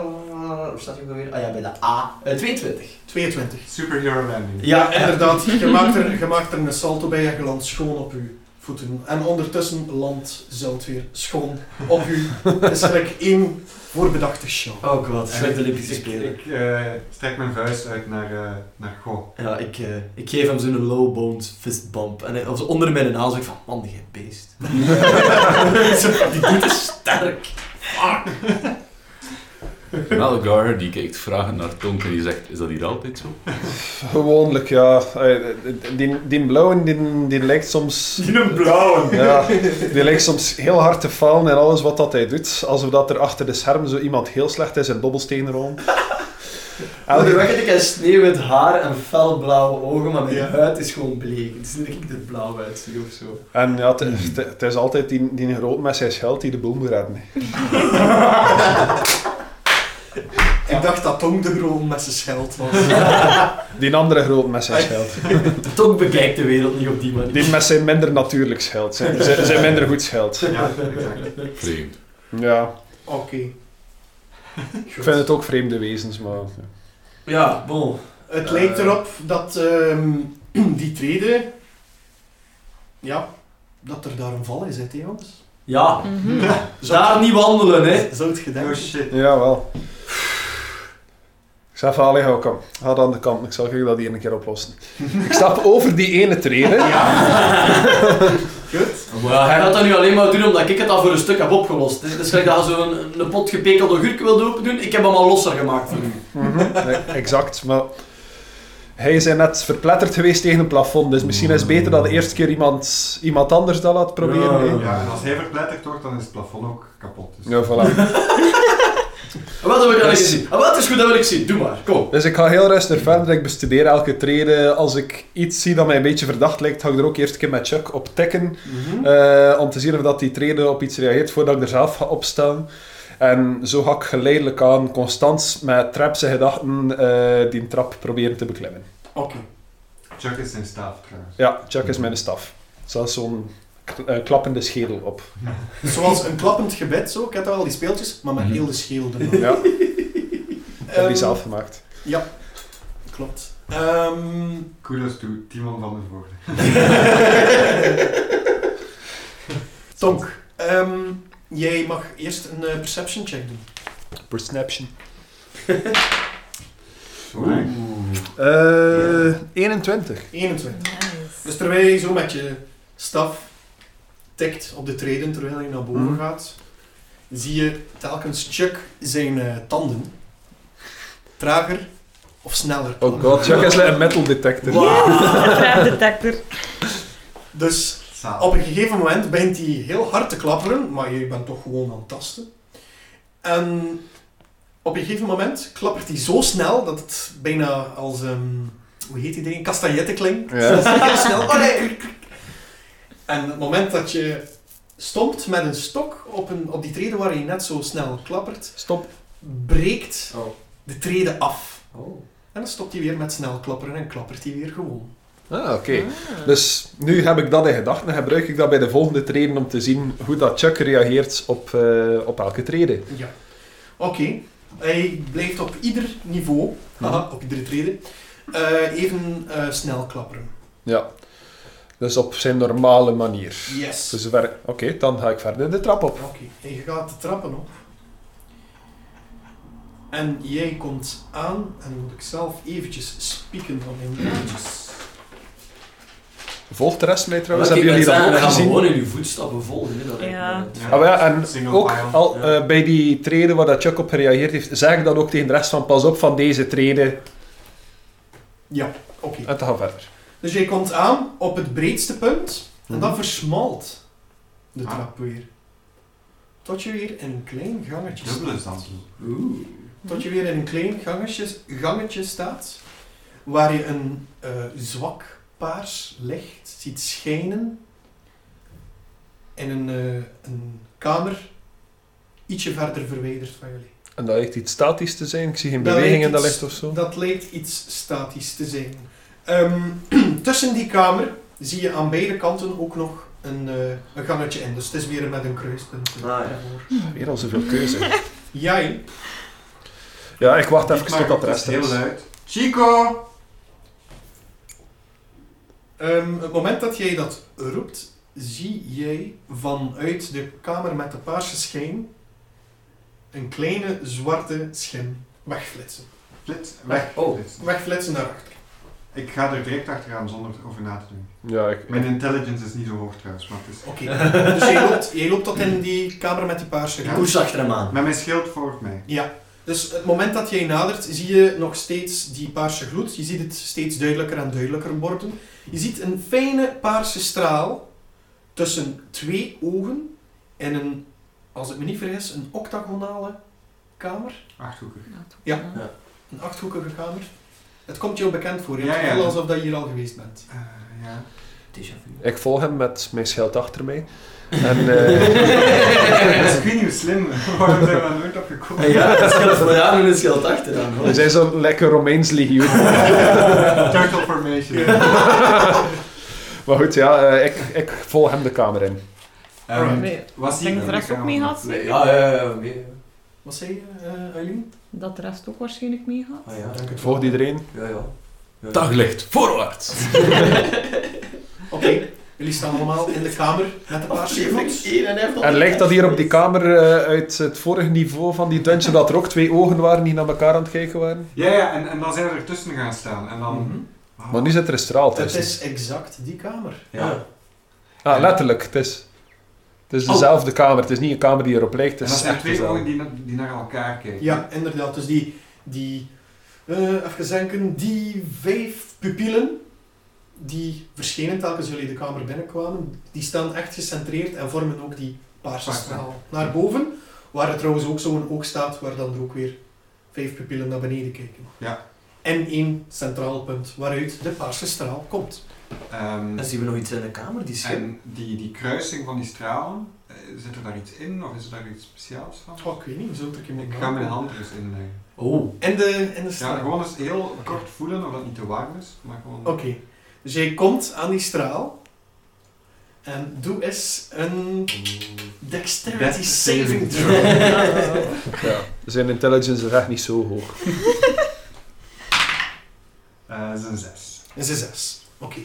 Speaker 5: hoe staat hij ook alweer? Ah ja, bij de A. Eh, 22.
Speaker 1: 22.
Speaker 4: Superhero landing.
Speaker 1: Ja, inderdaad. Je maakt, er, je maakt er een salto bij en je landt schoon op je voeten. En ondertussen landt Zeld weer schoon op je. Het is gelijk één voorbedachte show.
Speaker 5: Oh god,
Speaker 4: En
Speaker 5: slecht
Speaker 4: ik-
Speaker 5: Olympische
Speaker 4: ik-
Speaker 5: Spelen.
Speaker 4: Ik eh, strek mijn vuist uit naar, eh, naar Go.
Speaker 5: Ja, ik, eh, ik geef hem zo'n low-boned fistbump. En hij- of zo onder mijn naal zeg ik van, man, die beest. Zo, die doet is sterk.
Speaker 6: Melgar die kijkt vragen naar Tonk en die zegt: Is dat hier altijd zo?
Speaker 3: Gewoonlijk, ja. Eh, Die, die blauwe, die, die lijkt soms...
Speaker 5: een blauw.
Speaker 3: Ja, die lijkt soms heel hard te falen in alles wat dat hij doet. Alsof dat er achter de schermen zo iemand heel slecht is in dobbelsteen rollen.
Speaker 5: Onderweg
Speaker 3: Elke,
Speaker 5: heb ik een sneeuwwit haar en felblauwe ogen, maar mijn
Speaker 1: Ja.
Speaker 5: huid is gewoon bleek. Het is niet dat ik er blauw uitzie of zo.
Speaker 3: en ja, het- het het is altijd die, die groot met zijn scheld die de boel moet redden.
Speaker 1: Ik dacht dat Tom de Groen met zijn scheld was.
Speaker 3: Die andere groot met zijn scheld.
Speaker 5: Toch bekijkt de wereld niet op die manier.
Speaker 3: Die met zijn minder natuurlijk scheld. Zijn, zijn zijn minder goed scheld.
Speaker 4: Ja, exact.
Speaker 6: Vreemd.
Speaker 3: Ja,
Speaker 1: Oké.
Speaker 3: ik vind het ook vreemde wezens, maar...
Speaker 5: Ja, bon.
Speaker 1: Het
Speaker 5: Eh.
Speaker 1: lijkt erop dat ehm, die treden... Ja, dat er daar een val in zit, hè, jongens.
Speaker 5: Ja,
Speaker 2: Mhm.
Speaker 5: daar niet wandelen, hè.
Speaker 1: Zou het gedacht?
Speaker 4: Oh shit.
Speaker 3: Jawel. Ik zeg van, allee, hou, kom. Ga aan de kant. Ik zal jullie dat hier een keer oplossen. Ik stap over die ene treden.
Speaker 1: Goed.
Speaker 5: Maar hij gaat dat nu alleen maar doen omdat ik het al voor een stuk heb opgelost. Hè. Dus gelijk dat je zo'n een pot gepekelde gurk wilde open doen, ik heb hem al losser gemaakt. voor u.
Speaker 1: Mm.
Speaker 3: Mhm, nee, exact, maar... Hij is net verpletterd geweest tegen een plafond, dus misschien is het beter dat de eerste keer iemand, iemand anders dat laat proberen. hè.
Speaker 4: Ja, en als hij verpletterd wordt, dan is het plafond ook kapot. Dus.
Speaker 3: Ja, voilà.
Speaker 5: En wat wil ik dat ik
Speaker 3: Dus-
Speaker 5: zie? En wat is goed dat wil ik zien? Doe maar, kom.
Speaker 3: Dus ik ga heel rustig verder. Ik bestudeer elke trede. Als ik iets zie dat mij een beetje verdacht lijkt, ga ik er ook eerst een keer met Chuck op tikken.
Speaker 1: Mhm.
Speaker 3: Eh, om te zien of dat die treden op iets reageert voordat ik er zelf ga opstaan. En zo ga ik geleidelijk aan, constant met trapse gedachten, eh, die trap proberen te beklimmen.
Speaker 1: Oké.
Speaker 4: Chuck is zijn staaf trouwens.
Speaker 3: Ja, Chuck is mijn staf. Zelfs zo'n k- eh, klappende schedel op.
Speaker 1: Zoals een klappend gebed, zo. Ik had al die speeltjes, maar met
Speaker 6: Mhm.
Speaker 1: heel de schedel ervan.
Speaker 3: Ja, ik heb
Speaker 1: Ehm,
Speaker 3: die zelf gemaakt.
Speaker 1: Klopt. Ehm,
Speaker 4: Kudos to Timon van der Voorde.
Speaker 1: Tonk, ehm, jij mag eerst een eh, perception check doen.
Speaker 3: Perception.
Speaker 4: Oeh.
Speaker 3: Eh, 21.
Speaker 1: 21.
Speaker 2: Nice.
Speaker 1: Dus terwijl je zo met je staf tikt op de treden terwijl je naar boven
Speaker 3: Mhm.
Speaker 1: gaat, zie je telkens Chuck zijn eh, tanden trager of sneller.
Speaker 6: Oh god,
Speaker 3: Chuck is like een metal detector.
Speaker 2: Trapdetector.
Speaker 1: Dus
Speaker 4: Zaal.
Speaker 1: op een gegeven moment begint hij heel hard te klapperen, maar je bent toch gewoon aan het tasten. En op een gegeven moment klappert hij zo snel dat het bijna als, ehm, hoe heet die ding, castagnetten klinkt.
Speaker 3: Ja.
Speaker 1: Dat is heel snel. Oh, nee. En het moment dat je stompt met een stok op, een, op die treden waar je net zo snel klappert,
Speaker 3: Stop.
Speaker 1: breekt
Speaker 5: Oh.
Speaker 1: de treden af.
Speaker 5: Oh.
Speaker 1: En dan stopt hij weer met snel klapperen en klappert hij weer gewoon.
Speaker 3: Ah, oké. Dus nu heb ik dat in gedachten en gebruik ik dat bij de volgende treden om te zien hoe dat Chuck reageert op, eh, op elke treden.
Speaker 1: Ja. Oké. Hij blijft op ieder niveau, haha, op iedere trede, eh, even eh, snel klapperen.
Speaker 3: Ja. Dus op zijn normale manier.
Speaker 1: Yes.
Speaker 3: Dus ver... Oké, dan ga ik verder de trap op.
Speaker 1: Oké, en je gaat de trappen op. En jij komt aan, en moet ik zelf eventjes spieken van mijn blaadjes.
Speaker 3: Volgt de rest mij
Speaker 5: Maar
Speaker 3: trouwens?
Speaker 5: kijk,
Speaker 3: Hebben jullie dat
Speaker 5: mensen
Speaker 3: ook
Speaker 5: gaan
Speaker 3: gezien?
Speaker 5: gewoon in uw voetstappen volgen. Hè. Dat lijkt me
Speaker 2: Ja.
Speaker 5: net.
Speaker 3: Ah, wel ja, en
Speaker 4: Single
Speaker 3: ook
Speaker 4: file.
Speaker 3: al
Speaker 5: Ja.
Speaker 3: eh, bij die treden waar dat Chuck op gereageerd heeft, zeg ik dat ook tegen de rest van pas op van deze treden
Speaker 1: Oké.
Speaker 3: en te gaan verder.
Speaker 1: Dus jij komt aan op het breedste punt, en
Speaker 4: Mhm.
Speaker 1: dan versmalt de
Speaker 4: Ah.
Speaker 1: trap weer. Tot je weer in een klein gangetje
Speaker 4: Dubbele
Speaker 1: staat.
Speaker 4: zand.
Speaker 5: Oeh.
Speaker 1: Tot je weer in een klein gangetje, gangetje staat, waar je een eh, zwak paars licht ziet schijnen in een, eh, een kamer ietsje verder verwijderd van jullie.
Speaker 3: En dat lijkt iets statisch te zijn. Ik zie geen
Speaker 1: Dat
Speaker 3: beweging in
Speaker 1: lijkt
Speaker 3: dat
Speaker 1: iets-
Speaker 3: licht of zo.
Speaker 1: Dat lijkt iets statisch te zijn. Ehm, tussen die kamer zie je aan beide kanten ook nog een, eh, een gangetje in, dus het is weer met een kruispunt.
Speaker 5: Ah, ja.
Speaker 3: Weer al zoveel keuze.
Speaker 1: Jij,
Speaker 3: Ja, ik wacht
Speaker 4: Ik
Speaker 3: even tot
Speaker 4: maak
Speaker 3: dat de rest
Speaker 4: het
Speaker 3: er
Speaker 4: heel
Speaker 3: is.
Speaker 4: luid. Chico!
Speaker 1: Ehm, het moment dat jij dat roept, zie jij vanuit de kamer met de paarse schijn een kleine zwarte schim wegflitsen.
Speaker 4: Flits, weg.
Speaker 5: Oh.
Speaker 4: Flits.
Speaker 1: Wegflitsen naar achter.
Speaker 4: Ik ga er direct achteraan zonder over na te doen.
Speaker 3: Ja, ik,
Speaker 4: Mijn intelligence is niet zo hoog trouwens, maar het is...
Speaker 1: Oké, dus jij loopt, jij loopt tot in die kamer met die paarse
Speaker 4: Ja.
Speaker 1: schijn.
Speaker 5: Koers achter hem aan.
Speaker 4: Met mijn schild volgt mij.
Speaker 1: Dus het moment dat jij nadert, zie je nog steeds die paarse gloed. Je ziet het steeds duidelijker en duidelijker worden. Je ziet een fijne paarse straal tussen twee ogen en een, als ik me niet vergis, een octagonale kamer.
Speaker 4: Achthoekig.
Speaker 1: Ja. Een achthoekige kamer. Het komt je ook bekend voor. Je
Speaker 4: Ja,
Speaker 1: hebt het
Speaker 4: ja.
Speaker 1: gevoel alsof dat je hier al geweest bent.
Speaker 4: Eh, ja.
Speaker 5: Déjà vu.
Speaker 3: ik volg hem met mijn schild achter mij. En, eh,
Speaker 4: Dat is ik weet niet hoe slim. Waarom zijn we daar nooit op gekomen?
Speaker 5: Ja, dat scheelt voor jou en het scheelt achteraan.
Speaker 3: we zijn zo'n lekker Romeins legioen.
Speaker 4: Turtle formation.
Speaker 3: Maar goed, ja, eh, ik, ik volg hem de kamer in.
Speaker 4: Ehm,
Speaker 2: Nee, ik
Speaker 4: was
Speaker 2: denk
Speaker 4: hij
Speaker 2: dat de rest ook mee had.
Speaker 5: Nee, ja, ja, ja, ja, mee. Wat zei je, eh, Eileen?
Speaker 2: Dat de rest ook waarschijnlijk mee gaat.
Speaker 5: Ah ja, dank
Speaker 3: Ik volg iedereen.
Speaker 5: Ja, ja. ja.
Speaker 6: Daglicht, voorwaarts!
Speaker 1: Oké, jullie staan allemaal in de kamer met een paar schepels.
Speaker 3: En lijkt dat hier op die kamer eh, uit het vorige niveau van die dungeon dat er ook twee ogen waren die naar elkaar aan het kijken waren?
Speaker 4: Ja, ja, en, en dan zijn we ertussen gaan staan. En dan...
Speaker 1: Mhm.
Speaker 4: Wauw.
Speaker 3: Maar nu zit er een straal
Speaker 1: Het
Speaker 3: tussen.
Speaker 1: is exact die kamer.
Speaker 4: Ja.
Speaker 3: Ah, letterlijk. Het is, het is
Speaker 4: Oh.
Speaker 3: dezelfde kamer. Het is niet een kamer die erop lijkt.
Speaker 4: En
Speaker 3: Het
Speaker 4: dat
Speaker 3: is
Speaker 4: zijn
Speaker 3: echt
Speaker 4: twee
Speaker 3: dezelfde.
Speaker 4: ogen die, na- die naar elkaar kijken.
Speaker 1: Ja, inderdaad. Dus die, die eh, even denken, die vijf pupillen die verschenen telkens jullie de kamer binnenkwamen, die staan echt gecentreerd en vormen ook die paarse
Speaker 4: Paarse.
Speaker 1: straal naar boven, waar er trouwens ook zo'n oog staat, waar dan er ook weer vijf pupillen naar beneden kijken.
Speaker 4: Ja.
Speaker 1: En één centraal punt waaruit de paarse straal komt.
Speaker 4: Ehm,
Speaker 5: Dan zien we nog iets in de kamer, die schip.
Speaker 4: en die, die kruising van die stralen, eh, zit er daar iets in of is er daar iets speciaals van?
Speaker 1: Oh, ik weet niet, zult er iemand
Speaker 4: Ik ga mijn hand er eens inleggen.
Speaker 5: Oh.
Speaker 1: In de, in de straal.
Speaker 4: Ja, gewoon eens heel kort voelen of dat niet te warm is, maar gewoon...
Speaker 1: Oké, dus jij komt aan die straal. En doe eens een dexterity
Speaker 4: Dex
Speaker 1: saving
Speaker 4: saving
Speaker 1: throw.
Speaker 3: Ja. Zijn intelligence is echt niet zo hoog.
Speaker 4: Eh, dat is een zes.
Speaker 1: Dat is een zes. Oké.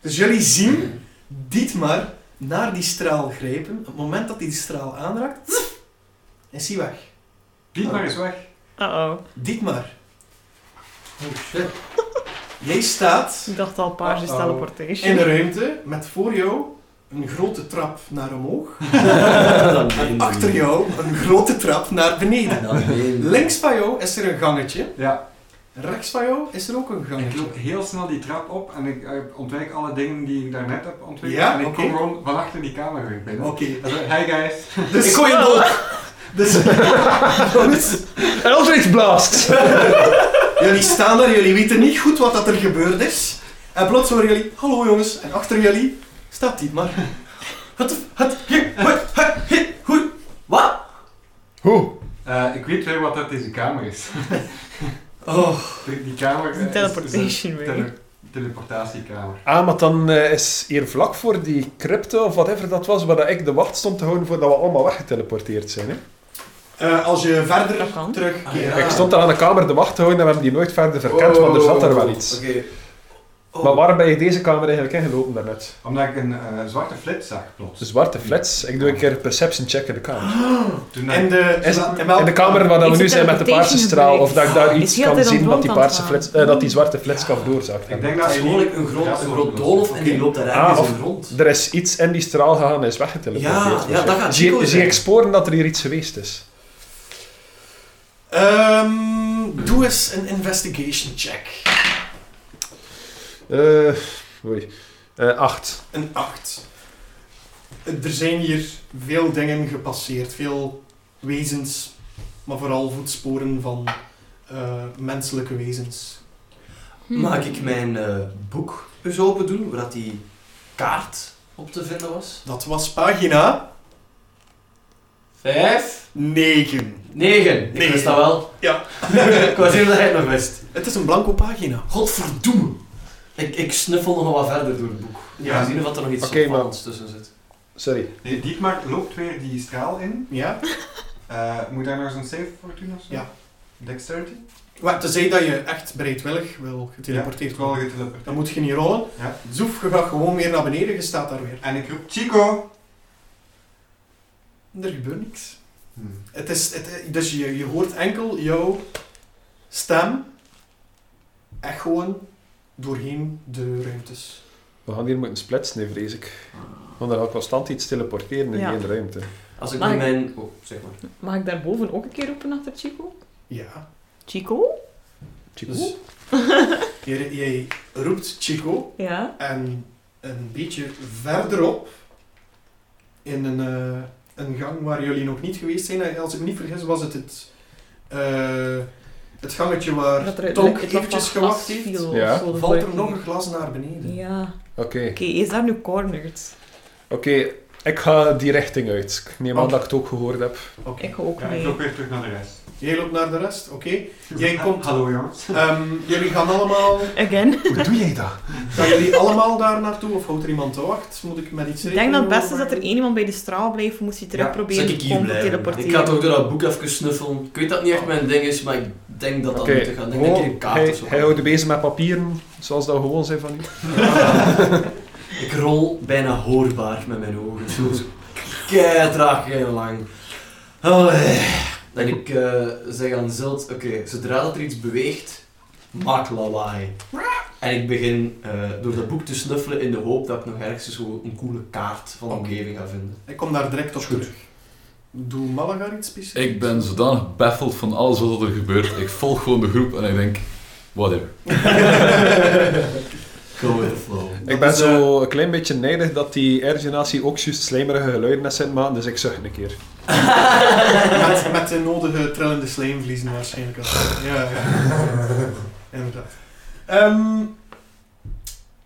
Speaker 1: Dus jullie zien Dietmar naar die straal grijpen. Op het moment dat hij die straal aanraakt, is hij weg.
Speaker 4: Piet maar eens weg.
Speaker 2: Uh-oh.
Speaker 1: Dietmar,
Speaker 5: Oh shit.
Speaker 1: jij staat
Speaker 2: Ik dacht al paarse
Speaker 1: Uh-oh.
Speaker 2: teleportation.
Speaker 1: in de ruimte met voor jou een grote trap naar omhoog.
Speaker 5: Dan
Speaker 1: En achter jou een grote trap naar beneden. Links van jou is er een gangetje.
Speaker 4: Ja,
Speaker 1: Rechts van jou is er ook een
Speaker 4: ik
Speaker 1: gangetje.
Speaker 4: loop heel snel die trap op en ik eh, ontwijk alle dingen die ik daarnet heb ontwikkeld.
Speaker 1: Ja,
Speaker 4: en ik
Speaker 1: oké.
Speaker 4: kom gewoon van achter die kamer weer binnen.
Speaker 1: Oké.
Speaker 4: En zo, Hi guys.
Speaker 1: Dus,
Speaker 5: Ik gooi hem dood.
Speaker 1: Dus, dus
Speaker 3: En Eldritch Blast!
Speaker 1: jullie staan daar, jullie weten niet goed wat dat er gebeurd is. En plots horen jullie, hallo jongens, en achter jullie staat die maar.
Speaker 5: Wat de- wat- hier, wat- wat- hier, hoe- Wat?
Speaker 3: Hoe?
Speaker 4: Eh, ik weet weer wat dat deze kamer is.
Speaker 1: Oh,
Speaker 4: Die die kamer eh,
Speaker 2: Een
Speaker 4: is- is
Speaker 2: teleportation
Speaker 4: een
Speaker 2: weer.
Speaker 4: tele- teleportatiekamer.
Speaker 3: Ah, maar dan eh, is hier vlak voor die crypto of whatever dat was, waar dat ik de wacht stond te houden voordat we allemaal weggeteleporteerd zijn. Hè?
Speaker 1: eh, als je verder
Speaker 2: Dat kan.
Speaker 1: terugkeert.
Speaker 5: Ah,
Speaker 3: Ik stond daar aan de kamer de wacht te houden en we hebben die nooit verder verkend, want er zat er wel iets.
Speaker 5: Oké. Oh.
Speaker 3: Maar waarom ben je deze kamer eigenlijk ingelopen daarnet?
Speaker 4: Omdat ik een eh, zwarte flits zag plots.
Speaker 3: De
Speaker 1: Dus
Speaker 3: zwarte flats. Ik doe een keer perception check in de kamer.
Speaker 4: Toen dat-
Speaker 1: En de,
Speaker 3: Is-
Speaker 1: en welk-
Speaker 3: In de kamer waar dat we
Speaker 2: Is
Speaker 3: nu
Speaker 2: het
Speaker 3: zijn met de paarse
Speaker 2: teleportation
Speaker 3: straal, of dat ik daar
Speaker 2: gebruikt?
Speaker 3: iets
Speaker 2: Is heel
Speaker 3: kan
Speaker 2: de
Speaker 3: zien dat die,
Speaker 2: rondwand
Speaker 3: paarse
Speaker 2: aan.
Speaker 3: flits, eh, dat die zwarte flitskaf doorzaakt.
Speaker 4: ik denk dat
Speaker 5: Dat is gewoon een groot, een groot doolhof en die loopt daar
Speaker 3: Ah,
Speaker 5: ergens
Speaker 3: of-
Speaker 5: in rond.
Speaker 3: Er is iets in die straal gegaan en is weggeteleporteerd.
Speaker 5: Ja, ja, dat gaat Chico
Speaker 3: zie, zie
Speaker 5: zijn.
Speaker 3: ik sporen dat er hier iets geweest is?
Speaker 1: Ehm, doe eens een investigation check.
Speaker 3: Eh, oei. Eh, acht.
Speaker 1: Een 8. Er zijn hier veel dingen gepasseerd, veel wezens, maar vooral voetsporen van eh, menselijke wezens.
Speaker 2: Hmm.
Speaker 5: Maak ik mijn eh, boek eens open doen, waar dat die kaart op te vinden was.
Speaker 1: Dat was pagina
Speaker 5: Vijf.
Speaker 1: 9.
Speaker 5: Negen. Ik
Speaker 1: Negen.
Speaker 5: wist dat wel.
Speaker 1: Ja.
Speaker 5: ik was even dat hij het nog wist.
Speaker 1: Het is een blanco pagina.
Speaker 5: Godverdomme. Ik, ik snuffel nog wat verder door het boek.
Speaker 1: Ja.
Speaker 5: Ja. Zien of dat er nog iets
Speaker 3: Oké,
Speaker 5: opvallends tussen zit.
Speaker 3: Sorry.
Speaker 4: Nee, Dietmar loopt weer die straal in.
Speaker 1: Ja?
Speaker 4: Eh, moet daar nog eens een save voor doen of zo?
Speaker 1: Ja.
Speaker 4: Dexterity?
Speaker 1: Maar tenzij dat je echt bereidwillig wil
Speaker 4: Ja,
Speaker 1: geteleporteerd
Speaker 4: wel
Speaker 1: worden.
Speaker 4: geteleporteerd.
Speaker 1: Dan moet je niet rollen.
Speaker 4: Ja.
Speaker 1: Zoef, je gaat gewoon weer naar beneden, je staat daar weer.
Speaker 4: En ik roep Chico!
Speaker 1: Er gebeurt niks.
Speaker 4: Hmm.
Speaker 1: Het is, het, dus je, je hoort enkel jouw stem echt gewoon doorheen de ruimtes.
Speaker 3: We gaan hier moeten splitsen, nee, vrees ik. Want er gaat constant iets teleporteren in
Speaker 2: Ja.
Speaker 3: die ene ruimte.
Speaker 5: Als ik
Speaker 2: Maar
Speaker 5: nu
Speaker 2: ik-
Speaker 5: mijn... Oh, zeg maar.
Speaker 2: Mag ik daarboven ook een keer roepen achter Chico?
Speaker 1: Ja.
Speaker 2: Chico?
Speaker 3: Chico?
Speaker 1: Dus- Jij, jij roept Chico
Speaker 2: Ja.
Speaker 1: en een beetje verderop in een, eh, een gang waar jullie nog niet geweest zijn. En Als ik me niet vergis was het het, eh, het gangetje waar
Speaker 2: Dat er
Speaker 1: Tonk
Speaker 2: het lag
Speaker 1: eventjes
Speaker 2: van glas
Speaker 1: gewacht heeft.
Speaker 2: viel of
Speaker 3: Ja.
Speaker 2: zo, dat
Speaker 1: Valt
Speaker 2: weet
Speaker 1: er
Speaker 2: ik
Speaker 1: nog
Speaker 2: niet.
Speaker 1: een glas naar beneden?
Speaker 2: Ja.
Speaker 3: Oké.
Speaker 2: Oké, is daar nu cornered?
Speaker 3: Oké, Ik ga die richting uit. Ik neem aan
Speaker 5: Ah.
Speaker 1: Oké.
Speaker 3: dat ik het ook gehoord heb.
Speaker 1: Oké.
Speaker 2: Ik ook
Speaker 4: Ja, ik
Speaker 2: mee.
Speaker 4: loop weer terug naar de rest.
Speaker 1: Jij loopt naar de rest, oké. Jij komt-
Speaker 4: Hallo jongens.
Speaker 1: Ehm, jullie gaan allemaal...
Speaker 2: Again.
Speaker 3: Hoe doe jij dat?
Speaker 1: Gaan jullie allemaal daar naartoe of houdt er iemand te wacht? Moet Dus ik met iets
Speaker 2: Ik denk dat het
Speaker 1: rekening
Speaker 2: beste is dat
Speaker 1: houden?
Speaker 2: er één iemand bij de straal blijft, moest hij terug
Speaker 4: Ja,
Speaker 2: proberen
Speaker 5: zal ik
Speaker 2: te
Speaker 5: hier
Speaker 2: komen te
Speaker 5: blijven?
Speaker 2: teleporteren.
Speaker 5: Ik ga toch door dat boek even snuffelen. Ik weet dat het niet echt mijn ding is, maar ik denk dat dat
Speaker 3: Oké.
Speaker 5: moet gaan. Ik denk dat ik hier een kaart
Speaker 3: hij,
Speaker 5: of zo
Speaker 3: hij
Speaker 5: heb.
Speaker 3: houdt bezig met papieren, zoals dat we gewoon zijn van u.
Speaker 5: Ik rol bijna hoorbaar met mijn ogen. Zo kei traag, heel lang. Allee. Dat ik eh, zeg aan Zilt, oké, zodra dat er iets beweegt, maak lawaai. En ik begin eh, door dat boek te snuffelen in de hoop dat ik nog ergens zo een coole kaart van de omgeving ga vinden.
Speaker 1: Ik kom daar direct op
Speaker 5: Is goed.
Speaker 1: terug. Doe Malaga iets specifieks?
Speaker 6: Ik ben zodanig baffeld van alles wat er gebeurt. Ik volg gewoon de groep en ik denk, whatever.
Speaker 5: Go with the flow.
Speaker 3: Ik ben
Speaker 5: eh,
Speaker 3: zo een klein beetje neidig dat die airgenatie ook juist slijmerige geluiden is in maken, dus ik zucht een keer.
Speaker 1: eh, met, met de nodige trillende slijmvliezen waarschijnlijk. Ja, ja. Inderdaad. Ehm,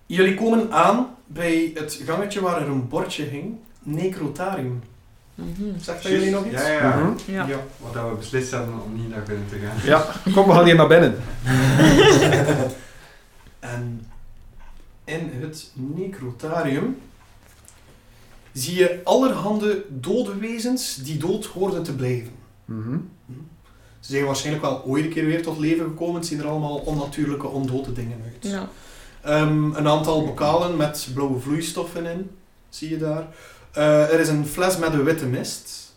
Speaker 1: jullie komen aan bij het gangetje waar er een bordje hing. Necrotarium.
Speaker 2: Mhm.
Speaker 1: Zegt dat jullie nog iets?
Speaker 4: Ja, ja.
Speaker 3: Mhm.
Speaker 2: Ja.
Speaker 4: Wat dat we beslist hebben om niet naar binnen te gaan.
Speaker 3: Ja, kom, we gaan hier naar binnen.
Speaker 1: En in het necrotarium zie je allerhande dode wezens die dood hoorden te blijven.
Speaker 3: Mhm.
Speaker 1: Ze zijn waarschijnlijk wel ooit een keer weer tot leven gekomen. Het zien er allemaal onnatuurlijke, ondode dingen uit.
Speaker 2: Ja.
Speaker 1: Ehm, een aantal bokalen met blauwe vloeistoffen in, zie je daar. Eh, er is een fles met een witte mist.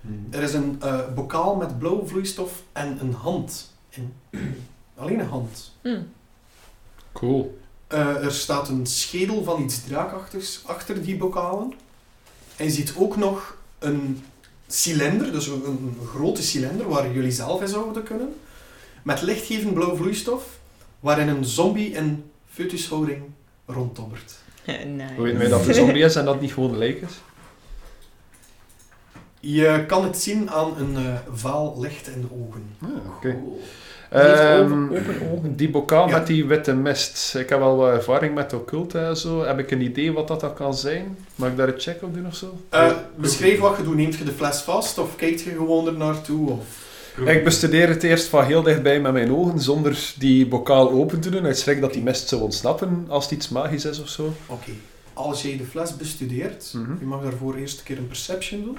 Speaker 4: Hmm.
Speaker 1: Er is een eh, bokaal met blauwe vloeistof en een hand in. Alleen een hand.
Speaker 2: Hm.
Speaker 3: Cool.
Speaker 1: Eh, er staat een schedel van iets draakachtigs achter die bokalen. En je ziet ook nog een cilinder, dus een, een grote cilinder waar jullie zelf in zouden kunnen. Met lichtgevend blauw vloeistof, waarin een zombie in foetushouding ronddobbert.
Speaker 2: Nice.
Speaker 3: Hoe weten wij dat het een zombie is en dat het niet gewoon een lijk is?
Speaker 1: Je kan het zien aan een eh, vaal licht in de ogen.
Speaker 3: Ah, Oké.
Speaker 5: Cool.
Speaker 2: Die heeft
Speaker 3: Ehm,
Speaker 2: open- open ogen.
Speaker 3: die bokaal
Speaker 1: Ja.
Speaker 3: met die witte mist. Ik heb wel wat ervaring met occulte en zo. Heb ik een idee wat dat dan kan zijn? Mag ik daar een check op doen of zo?
Speaker 1: Eh, beschrijf wat je doet. Neemt je de fles vast of kijkt je gewoon er naartoe? Of...
Speaker 3: Ik bestudeer het eerst van heel dichtbij met mijn ogen, zonder die bokaal open te doen. Uit schrik dat die mist zou ontsnappen als het iets magisch is of zo.
Speaker 1: Oké. Als jij de fles bestudeert,
Speaker 3: Mhm.
Speaker 1: je mag daarvoor eerst een keer een perception doen.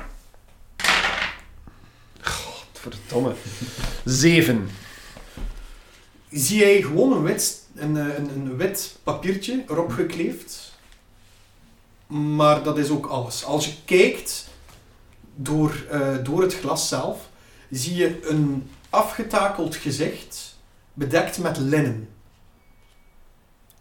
Speaker 3: Verdomme. Zeven.
Speaker 1: zie jij gewoon een wit, een, eh, een, een wit papiertje erop gekleefd. Maar dat is ook alles. Als je kijkt door, eh, door het glas zelf, zie je een afgetakeld gezicht bedekt met linnen.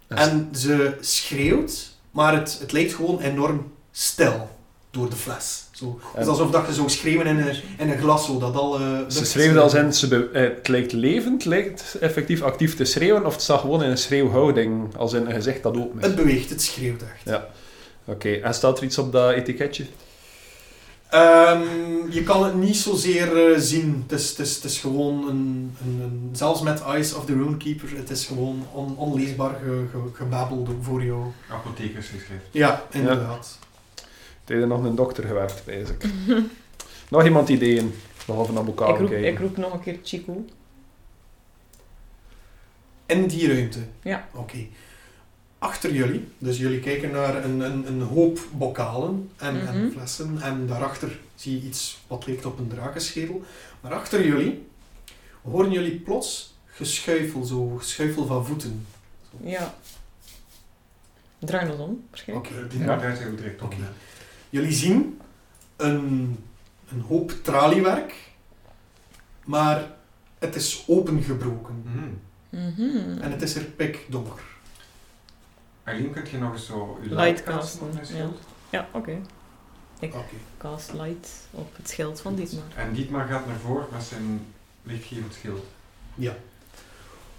Speaker 3: Dat is-
Speaker 1: En ze schreeuwt, maar het, het lijkt gewoon enorm stil door de fles. Zo. Het is
Speaker 3: En-
Speaker 1: alsof dat je zo schreeuwen in een, in een glas, zo, dat al... eh,
Speaker 3: Ze
Speaker 1: lucht-
Speaker 3: schreeuwen als in, ze be- eh, het lijkt levend, lijkt effectief actief te schreeuwen, of het staat gewoon in een schreeuwhouding, als in een gezicht dat open is.
Speaker 1: Het beweegt, het schreeuwt echt.
Speaker 3: Oké, en staat er iets op dat etiketje?
Speaker 1: Ehm, je kan het niet zozeer eh, zien. Het is, het is, het is gewoon een, een, een- Zelfs met Eyes of the Runekeeper, het is gewoon on- onleesbaar ge, ge- gebabbeld voor jou.
Speaker 4: Apothekersgeschrift.
Speaker 1: Ja, inderdaad.
Speaker 3: Er is nog een dokter gewerkt, wijs ik. nog iemand ideeën? Behalve naar bokaal
Speaker 2: Ik roep,
Speaker 3: kijken.
Speaker 2: ik roep nog een keer Chico.
Speaker 1: In die ruimte.
Speaker 2: Ja.
Speaker 1: Oké. Achter jullie, dus jullie kijken naar een, een, een hoop bokalen en, en
Speaker 2: Mhm.
Speaker 1: flessen. En daarachter zie je iets wat lijkt op een drakenschedel. Maar achter jullie horen jullie plots geschuifel, zo geschuifel van voeten.
Speaker 2: Ja. Draai nog om, waarschijnlijk.
Speaker 1: Oké.
Speaker 4: Die
Speaker 3: Ja.
Speaker 4: ja. Eh, daar zijn we direct op.
Speaker 1: Oké. Jullie zien een, een hoop traliewerk, maar het is opengebroken.
Speaker 4: Mhm.
Speaker 3: Oh.
Speaker 2: Mhm.
Speaker 1: En het is er pikdonker.
Speaker 4: Aileen, kunt je nog eens zo uw
Speaker 2: Lightcasten,
Speaker 4: op mijn
Speaker 2: ja.
Speaker 4: schild?
Speaker 2: Ja, oké.
Speaker 1: Oké.
Speaker 2: Cast light op het schild van Dietmar.
Speaker 4: En Dietmar gaat naar voren met zijn lichtgevend schild.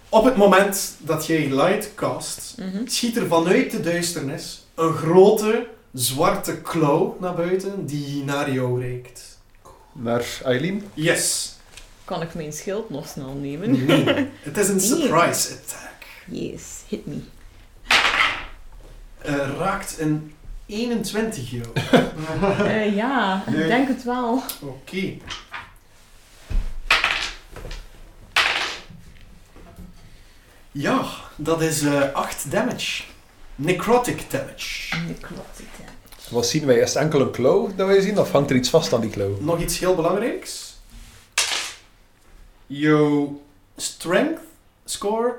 Speaker 1: Op het moment dat jij light cast,
Speaker 2: Mhm.
Speaker 1: schiet er vanuit de duisternis een grote zwarte klauw naar buiten die naar jou reikt.
Speaker 3: Naar Eileen?
Speaker 1: Yes.
Speaker 2: Kan ik mijn schild nog snel nemen?
Speaker 1: Nee. Het is een surprise attack.
Speaker 2: Yes, hit me.
Speaker 1: Eh, raakt een 21 euro.
Speaker 2: Eh, ja,
Speaker 4: Nee.
Speaker 2: ik denk het wel.
Speaker 1: Oké. Ja, dat is eh 8 damage. Necrotic damage.
Speaker 2: Nee, klopt het, hè.
Speaker 3: Wat zien wij? Is het enkel een klauw dat wij zien? Of hangt er iets vast aan die klauw?
Speaker 1: Nog iets heel belangrijks. Jouw strength score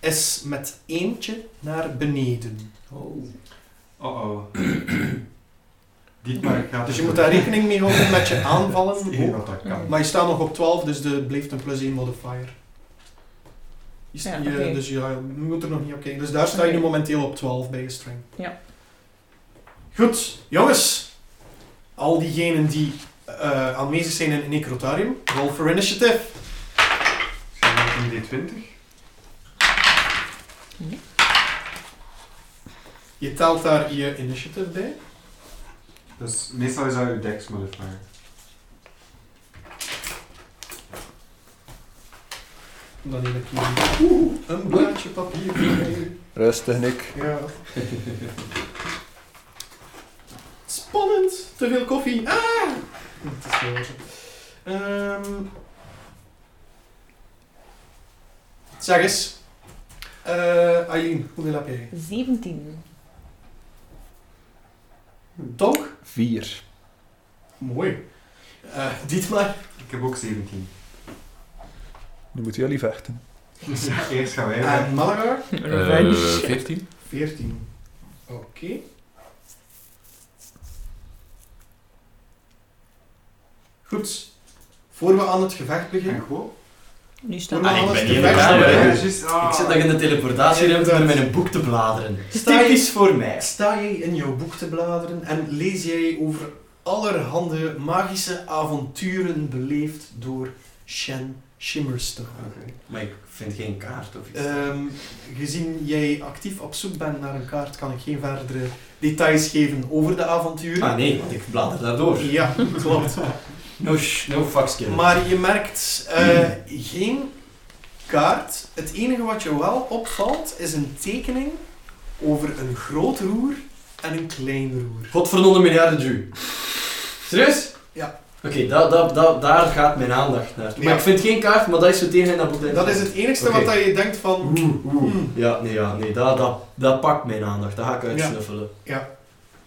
Speaker 1: is met eentje naar beneden.
Speaker 5: Oh.
Speaker 4: Oh-oh. oh. Dietmar gaat...
Speaker 1: Dus je moet daar rekening mee houden met je aanvallen.
Speaker 4: Eén wat dat kan.
Speaker 1: Maar je staat nog op 12, dus er blijft een plus 1 modifier. Je, sta- je-
Speaker 2: Ja, oké.
Speaker 1: Dus ja, je moet er nog niet op kijken. Dus daar sta je nu
Speaker 2: Oké.
Speaker 1: momenteel op 12 bij je streng.
Speaker 2: Ja.
Speaker 1: Goed, jongens. Al diegenen die eh, aanwezig zijn in Necrotarium, roll for initiative.
Speaker 4: Zijn we op een D20?
Speaker 1: Je telt daar je initiative bij.
Speaker 4: Dus meestal is dat je dex modifier.
Speaker 1: Dan neem ik hier Oeh, een blaadje papier. mee.
Speaker 3: Rustig, Nick.
Speaker 1: Ja. Spannend. Te veel koffie. Ah! Het is wel zo. Ehm. zeg eens. Eh, Aileen, hoeveel heb jij?
Speaker 2: 17.
Speaker 1: Tonk?
Speaker 3: Vier.
Speaker 1: Mooi. Eh Dietmar?
Speaker 4: Ik heb ook 17.
Speaker 3: Nu moeten jullie vechten.
Speaker 4: Dus ja, eerst gaan wij... weg.
Speaker 1: En Malagar?
Speaker 6: Eh,
Speaker 2: Revenge.
Speaker 6: 14?
Speaker 1: 14. Oké. Goed. Voor we aan het gevecht
Speaker 4: En dus
Speaker 1: beginnen.
Speaker 4: goed.
Speaker 2: nu
Speaker 1: Voor we
Speaker 2: staan
Speaker 1: aan
Speaker 6: ik
Speaker 1: het
Speaker 6: ben hier in de
Speaker 1: gevecht
Speaker 6: kamer,
Speaker 1: beginnen-
Speaker 6: hè.
Speaker 4: ah.
Speaker 5: Ik zit nog in de teleportatieruimte om in een boek te bladeren.
Speaker 1: Sta je-
Speaker 5: Typisch voor mij.
Speaker 1: Sta jij in jouw boek te bladeren en lees jij over allerhande magische avonturen beleefd door Shen Shimmerstone.
Speaker 5: Maar ik vind geen kaart
Speaker 3: Eh,
Speaker 5: of iets.
Speaker 1: Ehm, gezien jij actief op zoek bent naar een kaart, kan ik geen verdere details geven over de avonturen.
Speaker 5: ah nee, want ik blader daardoor.
Speaker 1: Ja, klopt.
Speaker 5: No, sh- no fucks given.
Speaker 1: Maar je merkt eh, geen kaart. Het enige wat je wel opvalt is een tekening over een groot roer en een klein roer.
Speaker 5: Godverdomme miljarden Jew. Serieus?
Speaker 1: Ja.
Speaker 5: Oké, da, da, da- daar gaat mijn aandacht naar. Maar
Speaker 1: Ja.
Speaker 5: ik vind geen kaart, maar dat is zo tegen in dat boek.
Speaker 1: Dat is het enigste
Speaker 5: Oké.
Speaker 1: wat dat je denkt van...
Speaker 5: Oeh, oeh.
Speaker 1: hmm,
Speaker 5: Ja, nee, ja, nee, dat, dat, dat pakt mijn aandacht. Dat ga ik uitsnuffelen.
Speaker 1: Ja.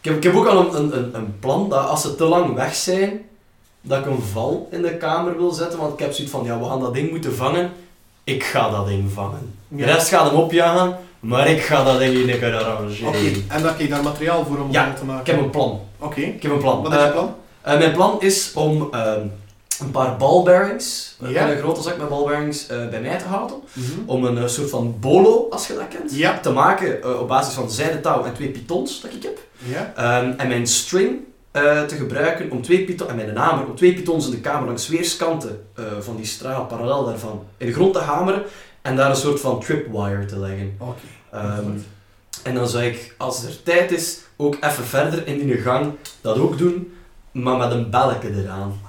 Speaker 5: Ik, heb, ik heb ook al een, een, een, een plan dat als ze te lang weg zijn, dat ik een val in de kamer wil zetten. Want ik heb zoiets van, ja, we gaan dat ding moeten vangen. Ik ga dat ding vangen.
Speaker 1: Ja.
Speaker 5: De rest gaat hem opjagen, maar ik ga dat ding niet kunnen arrangeren.
Speaker 1: Oké, en dat je daar materiaal voor om
Speaker 5: Ja,
Speaker 1: te maken?
Speaker 5: Ik heb een plan.
Speaker 1: Oké,
Speaker 5: Ik heb een plan.
Speaker 1: wat is je
Speaker 5: Eh,
Speaker 1: plan?
Speaker 5: eh, mijn plan is om ehm, een paar balbearings, eh,
Speaker 1: Ja.
Speaker 5: een grote zak met balbearings, eh, bij mij te houden. Om een eh, soort van bolo, als je dat kent,
Speaker 1: Ja.
Speaker 5: te maken eh, op basis van zijden touw en twee pitons dat ik heb.
Speaker 1: Ja,
Speaker 5: Ehm, en mijn string eh, te gebruiken om twee pitons, en mijn hamer, om twee pitons in de kamer langs weerskanten eh, van die straal, parallel daarvan, in de grond te hameren en daar een soort van tripwire te leggen.
Speaker 1: oké.
Speaker 5: Ehm, en dan zou ik, als er tijd is, ook even verder in die gang dat ook doen, maar met een belletje eraan.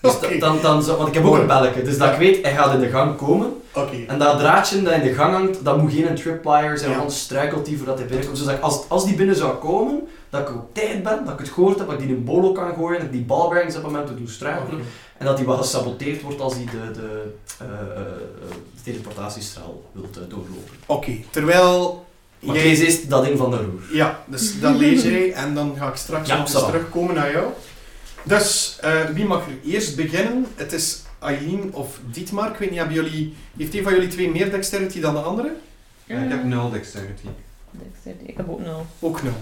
Speaker 5: Dus da-
Speaker 1: Oké.
Speaker 5: dan, dan, zou- want ik heb ook een belletje, dus dat ik weet, hij gaat in de gang komen.
Speaker 1: Oké,
Speaker 5: En dat draadje dat in de gang hangt, dat moet geen tripwire zijn,
Speaker 1: Ja.
Speaker 5: anders struikelt die voordat hij binnenkomt. Zodat ik, als, als die binnen zou komen, dat ik op tijd ben, dat ik het gehoord heb, dat ik die in bolo kan gooien, dat ik die balbearings op het moment doe struikelen.
Speaker 1: Oké.
Speaker 5: En dat die wat gesaboteerd wordt als die de, de, eh, eh, eh, de teleportatiestraal wilt eh, doorlopen.
Speaker 1: Oké, terwijl...
Speaker 5: Maar
Speaker 1: jij-
Speaker 5: jij is dat ding van de roer.
Speaker 1: Ja, dus dat lees jij en dan ga ik straks
Speaker 5: Ja,
Speaker 1: nog eens
Speaker 5: ça va.
Speaker 1: terugkomen naar jou. Dus, eh, wie mag er eerst beginnen? Het is Aileen of Dietmar. Ik weet niet, hebben jullie... Heeft een van jullie twee meer dexterity dan de andere?
Speaker 4: Ja, ik heb 0 dexterity.
Speaker 2: Dexterity. Ik heb ook nul.
Speaker 1: Ook nul.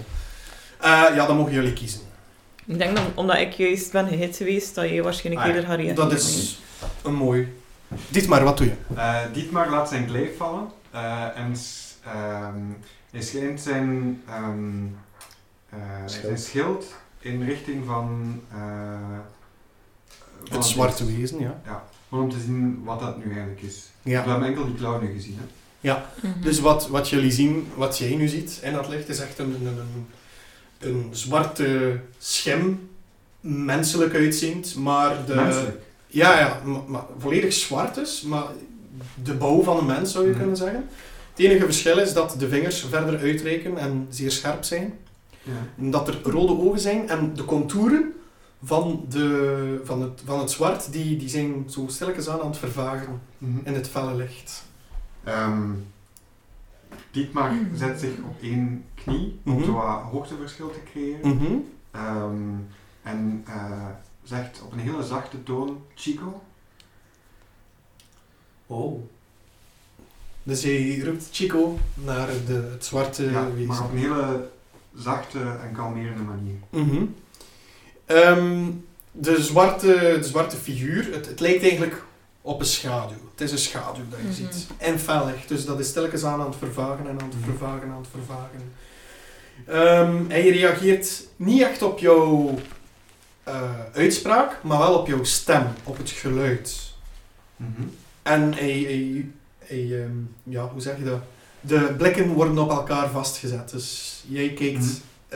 Speaker 1: Eh, ja, dan mogen jullie kiezen.
Speaker 2: Ik denk dat omdat ik juist ben gehit geweest, dat je waarschijnlijk
Speaker 4: Ah ja,
Speaker 2: eerder gaat reageren.
Speaker 1: Dat is een mooi... Dietmar, wat doe je?
Speaker 4: Eh, Dietmar laat zijn kleef vallen eh, en s- ehm, hij schijnt zijn, ehm, eh,
Speaker 3: Schild.
Speaker 4: zijn schild in richting van, eh, van
Speaker 1: Het zwarte wezen, ja.
Speaker 4: Maar om te zien wat dat nu eigenlijk is.
Speaker 1: Ja.
Speaker 4: We hebben enkel die clown nu gezien. Hè?
Speaker 2: Mhm.
Speaker 1: Dus wat, wat jullie zien, wat jij nu ziet in dat licht, is echt een, een, een, een zwarte schim. Menselijk uitziend, maar de...
Speaker 4: Menselijk.
Speaker 1: Ja, ja ma- maar volledig zwart is, maar de bouw van een mens zou je
Speaker 4: Ja.
Speaker 1: kunnen zeggen. Het enige verschil is dat de vingers verder uitreiken en zeer scherp zijn.
Speaker 4: Ja.
Speaker 1: Dat er rode ogen zijn en de contouren van, de, van, het, van het zwart, die, die zijn zo stilletjes aan aan het vervagen in het felle licht.
Speaker 4: Ehm, Dietmar zet zich op één knie om
Speaker 1: Mhm.
Speaker 4: zo wat hoogteverschil te creëren.
Speaker 1: Mhm.
Speaker 4: Ehm, en eh, zegt op een hele zachte toon, Chico.
Speaker 5: Oh.
Speaker 1: Dus hij roept Chico naar de, het zwarte
Speaker 4: ja,
Speaker 1: wezen.
Speaker 4: maar op een hele zachte en kalmerende manier.
Speaker 1: Mhm. Ehm, de, zwarte, de zwarte figuur, het, het lijkt eigenlijk op een schaduw. Het is een schaduw dat je
Speaker 2: Mhm.
Speaker 1: ziet. En fel licht, dus dat is telkens aan aan het vervagen en aan het
Speaker 4: Mhm.
Speaker 1: vervagen en aan het vervagen. Ehm, hij reageert niet echt op jouw eh, uitspraak, maar wel op jouw stem, op het geluid.
Speaker 4: Mhm.
Speaker 1: En hij, hij, hij, ehm, ja, hoe zeg je dat? De blikken worden op elkaar vastgezet. Dus jij kijkt
Speaker 4: Mhm.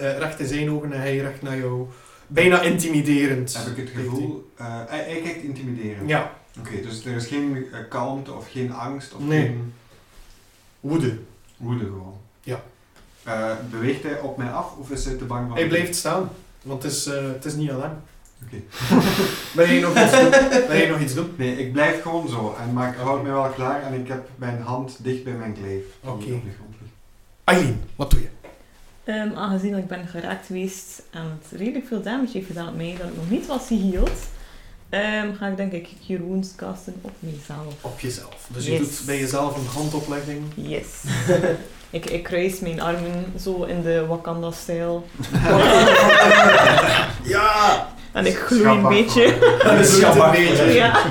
Speaker 1: eh, recht in zijn ogen en hij recht naar jou. Bijna intimiderend.
Speaker 4: Heb ik het
Speaker 1: kijkt
Speaker 4: gevoel... eh, hij, hij kijkt intimiderend.
Speaker 1: hij. Ja,
Speaker 4: Oké, dus er is geen eh, kalmte of geen angst of
Speaker 1: Nee.
Speaker 4: geen
Speaker 1: woede.
Speaker 4: woede gewoon.
Speaker 1: Ja.
Speaker 4: Eh, beweegt hij op mij af of is hij te bang van
Speaker 1: Hij
Speaker 4: mij?
Speaker 1: blijft staan, want het is, eh, het is niet aan hem.
Speaker 4: Oké.
Speaker 1: Wil jij nog iets doen? Wil jij nog iets doen?
Speaker 4: Nee, ik blijf gewoon zo, en, maar ik
Speaker 1: Oké.
Speaker 4: houd mij wel klaar en ik heb mijn hand dicht bij mijn kleef. die
Speaker 1: Oké.
Speaker 4: op de grond ligt.
Speaker 1: Aileen, wat doe je?
Speaker 2: Ehm, aangezien dat ik ben geraakt geweest en het redelijk veel damage heeft gedaan op mij, dat ik nog niet was geheeld, ehm, ga ik denk ik Cure Wounds casten op mezelf.
Speaker 1: Op jezelf. Dus je
Speaker 2: Yes.
Speaker 1: doet bij jezelf een handoplegging.
Speaker 2: Yes. ik, ik kruis mijn armen zo in de Wakanda-stijl.
Speaker 1: ja!
Speaker 2: En ik gloei een
Speaker 4: Schabak.
Speaker 2: beetje.
Speaker 1: Dat is een beetje.
Speaker 2: Ja.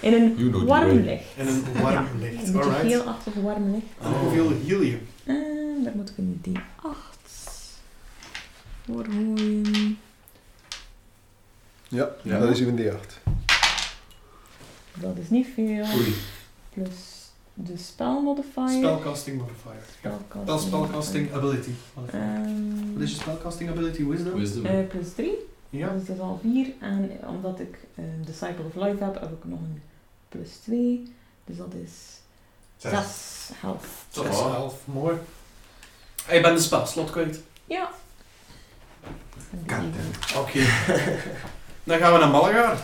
Speaker 2: In een
Speaker 6: You know the
Speaker 2: warm
Speaker 6: way.
Speaker 2: licht.
Speaker 1: In een warm licht.
Speaker 2: Een beetje
Speaker 1: Alright.
Speaker 2: geelachtig warm licht.
Speaker 1: En hoeveel heal je?
Speaker 2: En Eh, daar moet ik een D8 voor gooien.
Speaker 3: Ja,
Speaker 6: Ja.
Speaker 3: dat is uw D8.
Speaker 2: Dat is niet veel.
Speaker 6: Oei.
Speaker 2: Plus de spelmodifier.
Speaker 1: Spellcasting modifier.
Speaker 2: Spelcasting.
Speaker 1: Dat is spellcasting ability.
Speaker 2: Ehm,
Speaker 1: Wat is je spellcasting ability wisdom?
Speaker 6: Wisdom.
Speaker 2: eh, plus 3,
Speaker 1: Ja.
Speaker 2: dus dat is al 4. En omdat ik ehm Disciple of Life heb, heb ik nog een plus 2. Dus dat is
Speaker 4: Zes.
Speaker 2: 6 health.
Speaker 1: Dat is wel mooi. Hey, ik ben de spelslot kwijt.
Speaker 2: Ja. En die
Speaker 4: Kan
Speaker 2: even.
Speaker 1: Oké. Dan gaan we naar Malaga.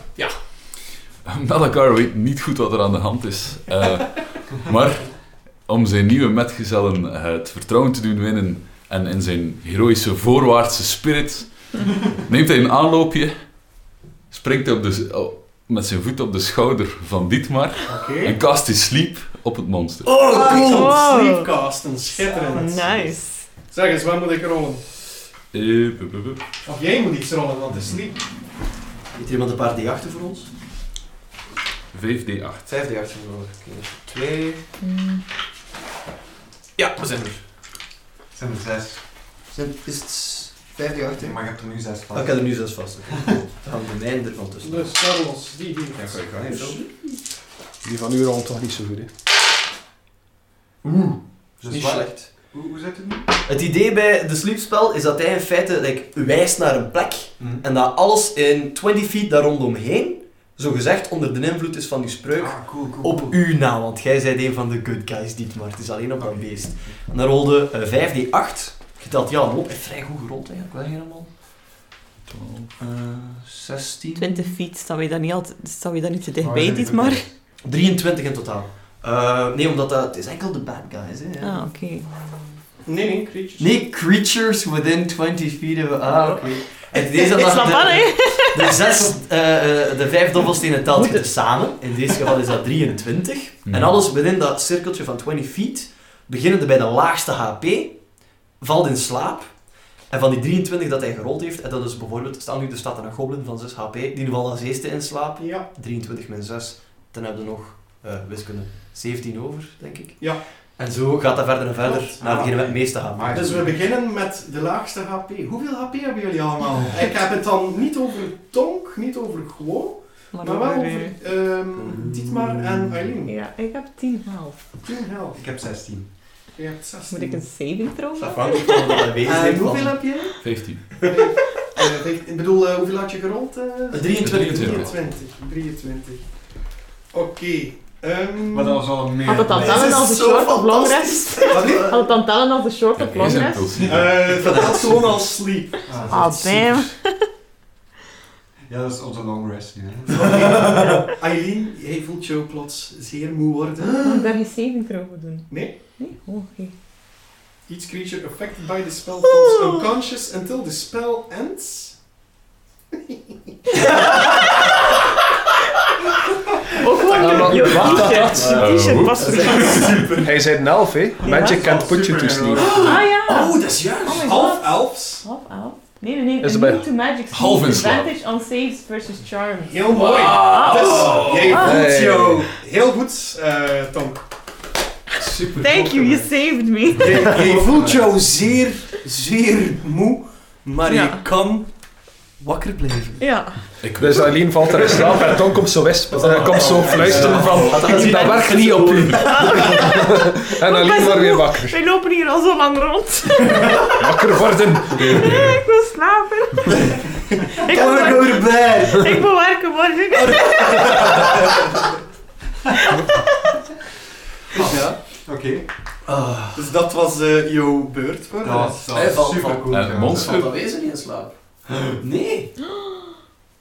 Speaker 6: Malakar weet niet goed wat er aan de hand is. Eh, maar om zijn nieuwe metgezellen eh, het vertrouwen te doen winnen en in zijn heroïsche voorwaartse spirit neemt hij een aanloopje, springt op de, s- oh, met zijn voet op de schouder van Dietmar
Speaker 1: Oké.
Speaker 6: en cast his sleep op het monster.
Speaker 1: Oh, cool!
Speaker 2: Wow.
Speaker 1: Sleepcasten, schitterend.
Speaker 2: Oh, Nice.
Speaker 1: Zeg eens, waar moet ik rollen?
Speaker 6: Eh, bup, bup, bup.
Speaker 1: Of jij moet iets rollen, want het is sleep.
Speaker 5: Heeft er iemand een paar D8 voor ons?
Speaker 6: 5d8.
Speaker 5: Vijf D8 voor ons. Oké. Twee.
Speaker 2: Mm,
Speaker 5: Ja, we zijn er.
Speaker 4: Het zijn er zes,
Speaker 5: Zijn, is het vijf D8? hè?
Speaker 4: maar je hebt er nu zes van.
Speaker 5: Ah, ik had er nu zes vast. Oké, cool. Dan gaan we de mijne ervan tussen.
Speaker 1: Dus Carlos, die hier.
Speaker 5: Ja, sorry, ik ga even zo.
Speaker 3: Die van u rolt toch niet zo goed, hè?
Speaker 4: Dus
Speaker 5: Niet
Speaker 4: waar-
Speaker 5: slecht.
Speaker 4: Hoe, hoe zit het nu?
Speaker 5: Het idee bij de sleepspel is dat hij in feite like, wijst naar een plek
Speaker 4: Ah,
Speaker 5: en dat alles in 20 feet daar rondomheen, zogezegd onder de invloed is van die spreuk,
Speaker 4: Ah, cool, cool.
Speaker 5: op
Speaker 4: cool.
Speaker 5: u na, want jij zijt een van de good guys, Dietmar. Het is alleen op dat beest. En dan rolde eh, 5d8, geteld ja op, heeft vrij goed gerold eigenlijk, wel helemaal.
Speaker 6: 12.
Speaker 5: Eh 16.
Speaker 2: 20 feet, staan we daar niet, altijd, staan we daar niet te
Speaker 4: Oh,
Speaker 2: dichtbij,
Speaker 4: ja,
Speaker 2: dit maar.
Speaker 5: 23 in totaal. Eh, nee, omdat dat, het is enkel de bad guys. Hè, ja.
Speaker 2: Ah, oké.
Speaker 1: Nee, nee, creatures.
Speaker 5: Nee, creatures within 20 feet hebben we. Ah, oké. En het idee is dat
Speaker 2: Ik
Speaker 5: dat
Speaker 2: snap
Speaker 5: de-
Speaker 2: aan, hè?
Speaker 5: De, zes, eh, eh, de vijf dobbelstenen telt je dus samen. In dit geval is dat 23.
Speaker 6: Hmm.
Speaker 5: En alles binnen dat cirkeltje van 20 feet, beginnende bij de laagste HP, valt in slaap. En van die 23 dat hij gerold heeft, en dat is bijvoorbeeld, stel nu, er staat er een goblin van 6 HP, die valt als eerste in slaap.
Speaker 1: Ja.
Speaker 5: 23 min 6, dan hebben we nog eh, wiskunde 17 over, denk ik.
Speaker 1: Ja.
Speaker 5: En zo gaat dat verder en verder
Speaker 1: Klopt.
Speaker 5: naar degene met het meeste
Speaker 4: Maar-
Speaker 5: HP.
Speaker 1: Dus we beginnen met de laagste HP. Hoeveel HP hebben jullie allemaal? Ik heb het dan niet over Tonk, niet over Guo, maar wel
Speaker 2: over,
Speaker 1: over ehm Dietmar en Aileen.
Speaker 2: Ja, ik heb 10 half.
Speaker 1: 10 health.
Speaker 4: Ik heb 16.
Speaker 1: Je hebt 16.
Speaker 2: Moet ik een saving throw
Speaker 5: Dat
Speaker 2: maken?
Speaker 5: hangt van wat hij bezig
Speaker 1: En
Speaker 5: heeft.
Speaker 1: hoeveel
Speaker 5: van-
Speaker 1: heb je?
Speaker 6: 15.
Speaker 1: Eh, ik- ik bedoel, eh, hoeveel had je gerold? eh?
Speaker 5: 23.
Speaker 6: 23.
Speaker 1: 23. 23. Oké. ehm, Ehm,
Speaker 4: Maar dat was al meer.
Speaker 2: Had het Ah, dan
Speaker 4: Nee.
Speaker 2: tellen als
Speaker 5: is
Speaker 2: een
Speaker 5: zo
Speaker 2: short of long
Speaker 5: fantastisch.
Speaker 2: rest? Had het dan tellen als een short of long rest?
Speaker 1: eh, dat gaat gewoon als sleep.
Speaker 4: Ah,
Speaker 2: Ah, damn.
Speaker 4: Ja, dat is onze long rest nu. Hè.
Speaker 1: Eileen, Eileen, jij voelt jou plots zeer moe worden.
Speaker 2: Dan ben je saving throw voor doen.
Speaker 1: Nee.
Speaker 2: Nee? Oh, oké.
Speaker 1: Each creature affected by the spell falls unconscious until the spell ends.
Speaker 2: Ook gewoon
Speaker 5: Nou,
Speaker 3: Ah, maar
Speaker 2: je, je
Speaker 3: wacht,
Speaker 2: t-shirt.
Speaker 3: wacht.
Speaker 2: Je t-shirt past
Speaker 1: Dat is
Speaker 2: perfect.
Speaker 1: echt super.
Speaker 3: Hij zei een elf, hè. Magic can't put you to sleep.
Speaker 2: Ah ja!
Speaker 5: Oh, dat is juist.
Speaker 2: Oh my
Speaker 1: Half
Speaker 2: god.
Speaker 1: elves.
Speaker 2: Half elf? Nee, nee, nee.
Speaker 3: Is
Speaker 2: Een
Speaker 3: erbij.
Speaker 2: new to magic
Speaker 6: Half
Speaker 2: sneak
Speaker 6: in slaap.
Speaker 2: advantage on saves versus charms.
Speaker 1: Heel mooi.
Speaker 6: Wow.
Speaker 1: Dus jij
Speaker 2: Ah.
Speaker 1: voelt
Speaker 3: Hey.
Speaker 1: jou heel goed, eh, Tom.
Speaker 5: Super.
Speaker 2: Thank you, you saved me.
Speaker 1: Jij, jij voelt jou zeer, zeer moe, maar
Speaker 2: Ja.
Speaker 1: je kan wakker blijven.
Speaker 2: Ja.
Speaker 6: Ik
Speaker 3: Dus Aileen valt er in slaap en Tom komt zo, wisp, eh, komt zo fluisteren van dat werkt niet op u. en Aileen wordt weer wakker.
Speaker 2: Wij lopen hier al zo lang rond.
Speaker 3: Wakker worden.
Speaker 2: ik wil slapen. ik, wil,
Speaker 5: We're going to bed.
Speaker 2: ik wil werken morgen.
Speaker 1: Ja.
Speaker 4: Oké,
Speaker 5: Ah,
Speaker 1: Dus dat was eh, jouw beurt voor
Speaker 4: dat
Speaker 1: de
Speaker 4: was,
Speaker 1: rest.
Speaker 4: dat
Speaker 5: Hij
Speaker 4: was
Speaker 5: valt
Speaker 4: super
Speaker 5: van-
Speaker 4: cool.
Speaker 6: Eh,
Speaker 4: ja.
Speaker 6: monster.
Speaker 5: valt dat wezen niet in slaap? Nee.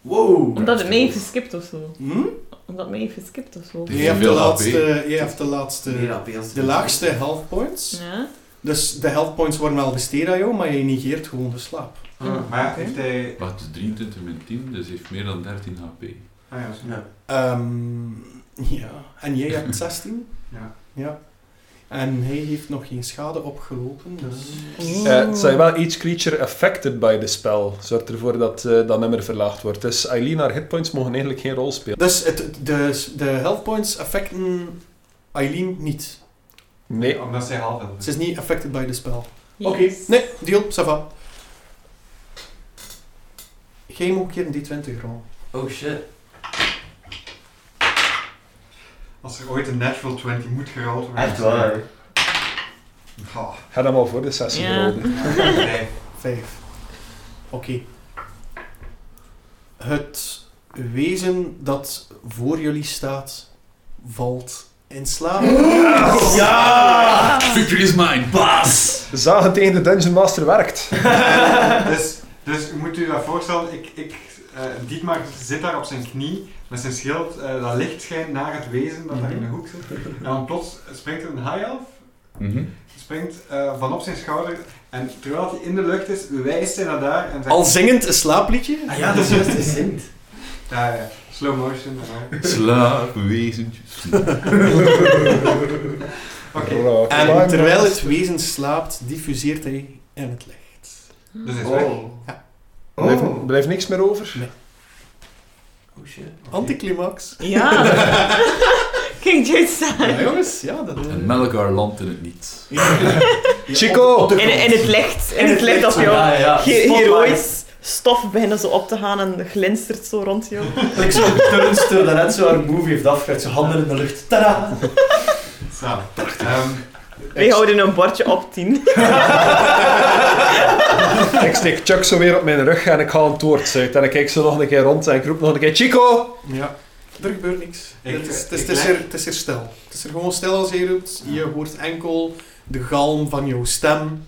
Speaker 5: Wow.
Speaker 2: Omdat het mij heeft geskipt of zo.
Speaker 1: Hm?
Speaker 2: Omdat mij heeft geskipt of zo.
Speaker 6: Die
Speaker 1: Je
Speaker 6: heeft
Speaker 1: hebt de
Speaker 6: veel AP.
Speaker 1: laatste, je hebt de
Speaker 5: Nee,
Speaker 1: laatste,
Speaker 5: dat beeld.
Speaker 1: de laagste health points.
Speaker 2: Ja.
Speaker 1: Dus de health points worden wel besteed aan jou, maar je negeert gewoon de slaap.
Speaker 4: Ah, Maar ja, heeft hij...
Speaker 6: Wacht, 23 min 10, dus heeft meer dan 13 HP.
Speaker 4: Ah ja, zo.
Speaker 5: Ja.
Speaker 1: Ehm, ja. En jij hebt 16.
Speaker 4: Ja.
Speaker 1: ja. En hij heeft nog geen schade opgelopen. Dus...
Speaker 3: Eh, Het zijn wel each creature affected by the spell. Zorgt ervoor dat eh, dat nummer verlaagd wordt. Dus Aileen, haar hitpoints mogen eigenlijk geen rol spelen.
Speaker 1: Dus het, de, de health points affecten Eileen niet.
Speaker 3: Nee.
Speaker 4: Omdat zij half elf
Speaker 1: Ze is niet affected by the spell.
Speaker 2: Yes.
Speaker 1: Oké, nee, deal, ça va. Jij moet een keer een D20 rollen.
Speaker 5: Oh shit.
Speaker 4: Als er ooit een natural 20 moet gerold worden...
Speaker 5: Echt waar.
Speaker 4: Oh,
Speaker 3: Ga dan maar voor de sessie
Speaker 2: Ja.
Speaker 3: rollen.
Speaker 4: nee.
Speaker 1: Vijf. Oké. Het wezen dat voor jullie staat, valt in slaap.
Speaker 6: Ja! Victory is mine, baas!
Speaker 3: Zagen tegen de Dungeon Master werkt.
Speaker 4: dus, dus u moet u dat voorstellen, ik, ik, eh, Dietmar zit daar op zijn knie met zijn schild, eh, dat licht schijnt naar het wezen dat daar in de hoek zit. En dan plots springt er een high elf,
Speaker 3: Mhm.
Speaker 4: springt eh, van op zijn schouder en terwijl hij in de lucht is, wijst hij naar daar en zegt...
Speaker 1: Al zingend een slaapliedje.
Speaker 5: Ah ja, dat is juist gezinkt.
Speaker 4: Ja, ja, slow motion. maar-
Speaker 6: Slaapwezentjes.
Speaker 4: Oké,
Speaker 3: Rock
Speaker 1: En
Speaker 3: climb.
Speaker 1: terwijl het wezen slaapt, diffuseert hij in het licht.
Speaker 4: dus hij is weg.
Speaker 5: Oh.
Speaker 3: Blijft
Speaker 4: Oh.
Speaker 3: blijft niks meer over.
Speaker 5: Oh shit.
Speaker 1: Anticlimax.
Speaker 2: Ja. King Jude staan.
Speaker 1: Ja, jongens, ja, dat is.
Speaker 6: En Melgar landt in het niet.
Speaker 1: Oh.
Speaker 3: Chico!
Speaker 2: In, in het licht. In het licht op
Speaker 5: Ah, Ja,
Speaker 2: jou.
Speaker 5: ja.
Speaker 2: Ge-
Speaker 5: Spotlight.
Speaker 2: Heroïs stof beginnen zo op te gaan en glinstert zo rond jou.
Speaker 5: Ik zo'n turnster dat net zo haar move heeft afgewerkt. Zo handen in de lucht. Tada!
Speaker 4: Zo. Ehm,
Speaker 2: Wij houden een bordje op 10.
Speaker 3: Ik steek Chuck zo weer op mijn rug en ik haal een toorts uit. En ik kijk zo nog een keer rond en ik roep nog een keer Chico!
Speaker 1: Ja, er gebeurt niks.
Speaker 4: Ik-
Speaker 1: het, is, het, is,
Speaker 4: ik
Speaker 1: het is
Speaker 4: leg-
Speaker 1: er, het is er stil. Het is er gewoon stil als je roept. Je hoort enkel de galm van jouw stem.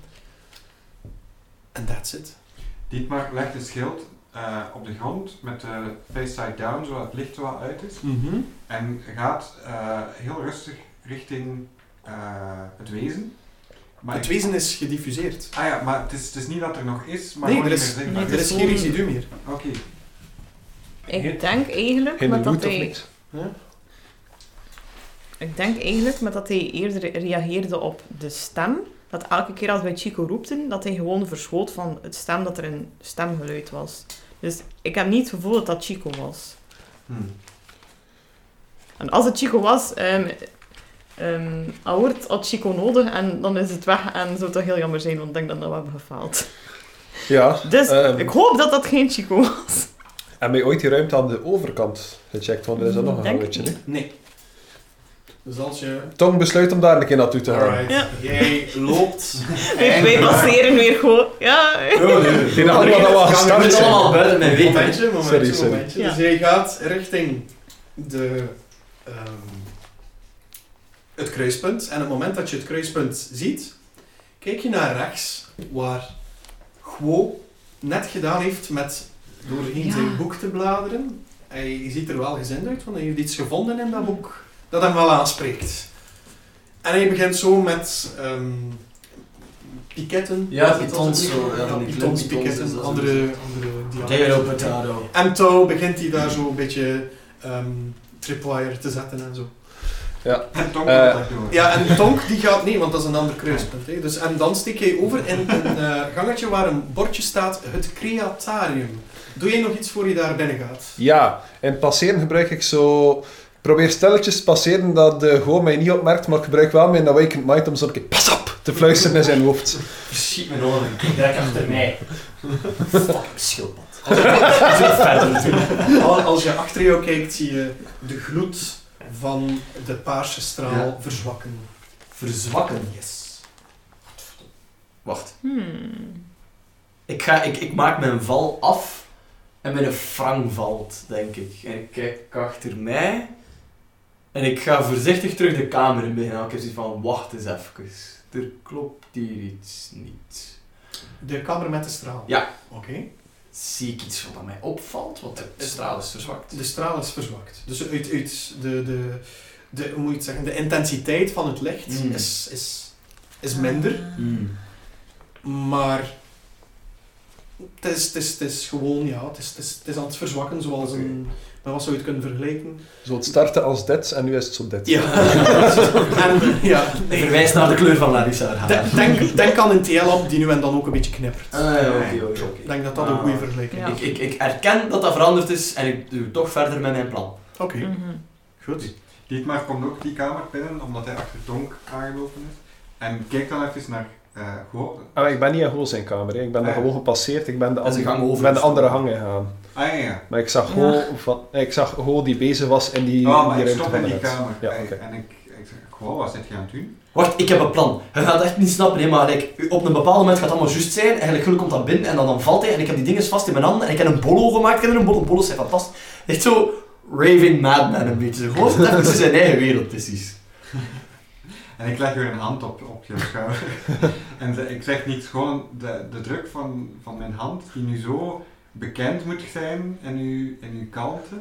Speaker 1: En that's it.
Speaker 4: Dietmar legt het schild eh, op de grond met de face side down, zodat het licht er wel uit is. En gaat eh, heel rustig richting eh, het wezen. Maar
Speaker 1: Het
Speaker 4: ik-
Speaker 1: wezen is gediffuseerd.
Speaker 4: Ah ja, maar het is, het is niet dat er nog is, maar
Speaker 1: nee,
Speaker 4: gewoon
Speaker 1: er
Speaker 4: niet
Speaker 1: is,
Speaker 4: meer
Speaker 2: nee,
Speaker 4: zichtbaar
Speaker 1: er is geen residu meer.
Speaker 4: Oké.
Speaker 2: Ik denk eigenlijk
Speaker 3: In de
Speaker 2: met dat
Speaker 3: loot of
Speaker 2: hij...
Speaker 3: niet?
Speaker 2: Ik denk eigenlijk met dat hij eerder reageerde op de stem. Dat elke keer als wij Chico roepten, dat hij gewoon verschoot van het stem dat er een stemgeluid was. Dus ik heb niet het gevoel dat dat Chico was.
Speaker 4: Hm.
Speaker 2: En als het Chico was, ehm ehm Aort had Chico nodig en dan is het weg en zou dat heel jammer zijn, want ik denk dat dat we hebben gefaald.
Speaker 3: Ja.
Speaker 2: Dus
Speaker 3: Ehm.
Speaker 2: ik hoop dat dat geen Chico was.
Speaker 3: En mij ooit die ruimte aan de overkant gecheckt, want er is dat nog een
Speaker 2: Denk
Speaker 3: houwetje.
Speaker 2: ik
Speaker 3: hè?
Speaker 2: niet.
Speaker 1: Nee. Dus als je...
Speaker 3: Tom besluit om daar een keer naartoe te gaan.
Speaker 2: Ja.
Speaker 1: Jij loopt...
Speaker 4: Oh,
Speaker 2: Wij, wij passeren weer gewoon. Ja.
Speaker 3: Die dat allemaal dat wel
Speaker 5: Ik
Speaker 3: gestart
Speaker 5: ben
Speaker 3: zijn.
Speaker 5: allemaal buiten mijn weet. hè.
Speaker 1: Momentje, momentje, Dus
Speaker 3: Sorry, sorry.
Speaker 1: momentje.
Speaker 2: Ja.
Speaker 1: Dus jij gaat richting de... ehm, het kruispunt. En op het moment dat je het kruispunt ziet, kijk je naar rechts, waar Guo net gedaan heeft met doorheen
Speaker 2: Ja.
Speaker 1: zijn boek te bladeren. Hij ziet er wel gezind uit, want hij heeft iets gevonden in dat boek dat hem wel aanspreekt. En hij begint zo met ehm piketten.
Speaker 5: Ja,
Speaker 1: was het
Speaker 5: pitons
Speaker 1: als het
Speaker 5: zo,
Speaker 1: ware?
Speaker 5: ja, van die
Speaker 1: pitons,
Speaker 5: kleine pitons is
Speaker 1: piketten,
Speaker 5: dat
Speaker 1: andere,
Speaker 5: zo.
Speaker 1: andere
Speaker 5: Potato,
Speaker 1: dialecten.
Speaker 5: potato.
Speaker 1: En touw begint hij daar zo een beetje ehm tripwire te zetten en zo.
Speaker 4: En Tom
Speaker 3: Eh,
Speaker 4: dat door.
Speaker 1: Ja, en Tonk die gaat nee, want dat is een ander kruispunt. Hè. Dus, en dan steek jij over in een eh, gangetje waar een bordje staat, het creatarium. Doe jij nog iets voor je daar binnen gaat?
Speaker 3: Ja, en passeren gebruik ik zo... ik Probeer stelletjes te passeren dat eh gewoon mij niet opmerkt, maar ik gebruik wel mijn awakened mind om zo'n keer pas op te fluisteren in zijn hoofd.
Speaker 5: Verschiet mijn oren. Kijk direct achter mij. Fucking schildpad. Als ik verder natuurlijk.
Speaker 1: Al- Als je achter jou kijkt, zie je de gloed van de paarse straal
Speaker 5: Ja.
Speaker 1: verzwakken.
Speaker 5: Verzwakken.
Speaker 1: Yes.
Speaker 5: Wacht.
Speaker 2: Hmm.
Speaker 5: Ik, ga, ik, ik maak mijn val af en mijn frang valt, denk ik. En ik kijk achter mij en ik ga voorzichtig terug de kamer in beginnen. Ik heb zoiets van, wacht eens even. Er klopt hier iets niet.
Speaker 1: De kamer met de straal.
Speaker 5: Ja.
Speaker 1: Oké.
Speaker 5: Zie ik iets wat aan mij opvalt? Want de straal is verzwakt.
Speaker 1: De straal is verzwakt. Dus uit, uit de, de, de, hoe moet je het zeggen, de intensiteit van het licht
Speaker 5: Mm.
Speaker 1: is, is, is minder.
Speaker 5: Hmm.
Speaker 1: Maar het is, het is, het is gewoon, ja, het is, het is, het is aan het verzwakken zoals
Speaker 5: Oké.
Speaker 1: een... Maar wat zou je het kunnen vergelijken?
Speaker 3: Zo het starten als dit, en nu is het zo dit.
Speaker 1: Ja. en, ja.
Speaker 5: Ik verwijs naar de kleur van Larissa haar haar.
Speaker 1: De- Denk, denk aan een TL-app die nu en dan ook een beetje knippert.
Speaker 5: Ah, ja, oké, oké, oké.
Speaker 1: Ik denk dat dat een
Speaker 5: Ah.
Speaker 1: goede vergelijking
Speaker 2: Ja.
Speaker 1: is.
Speaker 5: Ik, ik, ik erken dat dat veranderd is en ik doe toch verder met mijn plan.
Speaker 1: Oké,
Speaker 2: Mhm.
Speaker 1: goed.
Speaker 4: Dietmar komt ook die kamer binnen, omdat hij achter Donk aangelopen is. En kijkt dan even naar eh Guo.
Speaker 3: Ah, maar ik ben niet in Gool zijn kamer, hè. ik ben daar
Speaker 4: Ah.
Speaker 3: gewoon gepasseerd, ik ben de,
Speaker 5: Dat is een
Speaker 3: andere-
Speaker 5: gang over.
Speaker 3: ik ben de andere hang ingegaan.
Speaker 4: Ah ja, ja.
Speaker 3: Maar ik zag
Speaker 2: Ja.
Speaker 3: Gool van- ik zag Gool die bezig was in die,
Speaker 4: Oh, maar
Speaker 3: die
Speaker 4: ik
Speaker 3: ruimte
Speaker 4: stop
Speaker 3: van
Speaker 4: in die
Speaker 3: daarnet.
Speaker 4: kamer.
Speaker 3: Ja,
Speaker 4: Hey,
Speaker 3: oké.
Speaker 4: En ik, ik zeg, Guo, wat zit je aan het doen?
Speaker 5: Wacht, ik heb een plan. Je gaat echt niet snappen, hè, maar like, op een bepaald moment gaat het allemaal juist zijn. En Gulli komt dan binnen en dan, dan valt hij. En ik heb die dinges vast in mijn handen. En ik heb een bolo gemaakt. Ik heb er een bolo. Bolos zijn fantastisch. Echt zo raving madman een beetje. Zo Gewoon zo even in zijn eigen wereld, precies.
Speaker 4: En ik leg weer een hand op, op je schouder. en ze- ik zeg niets, gewoon de, de druk van, van mijn hand, die nu zo bekend moet zijn in uw, in uw kalmte,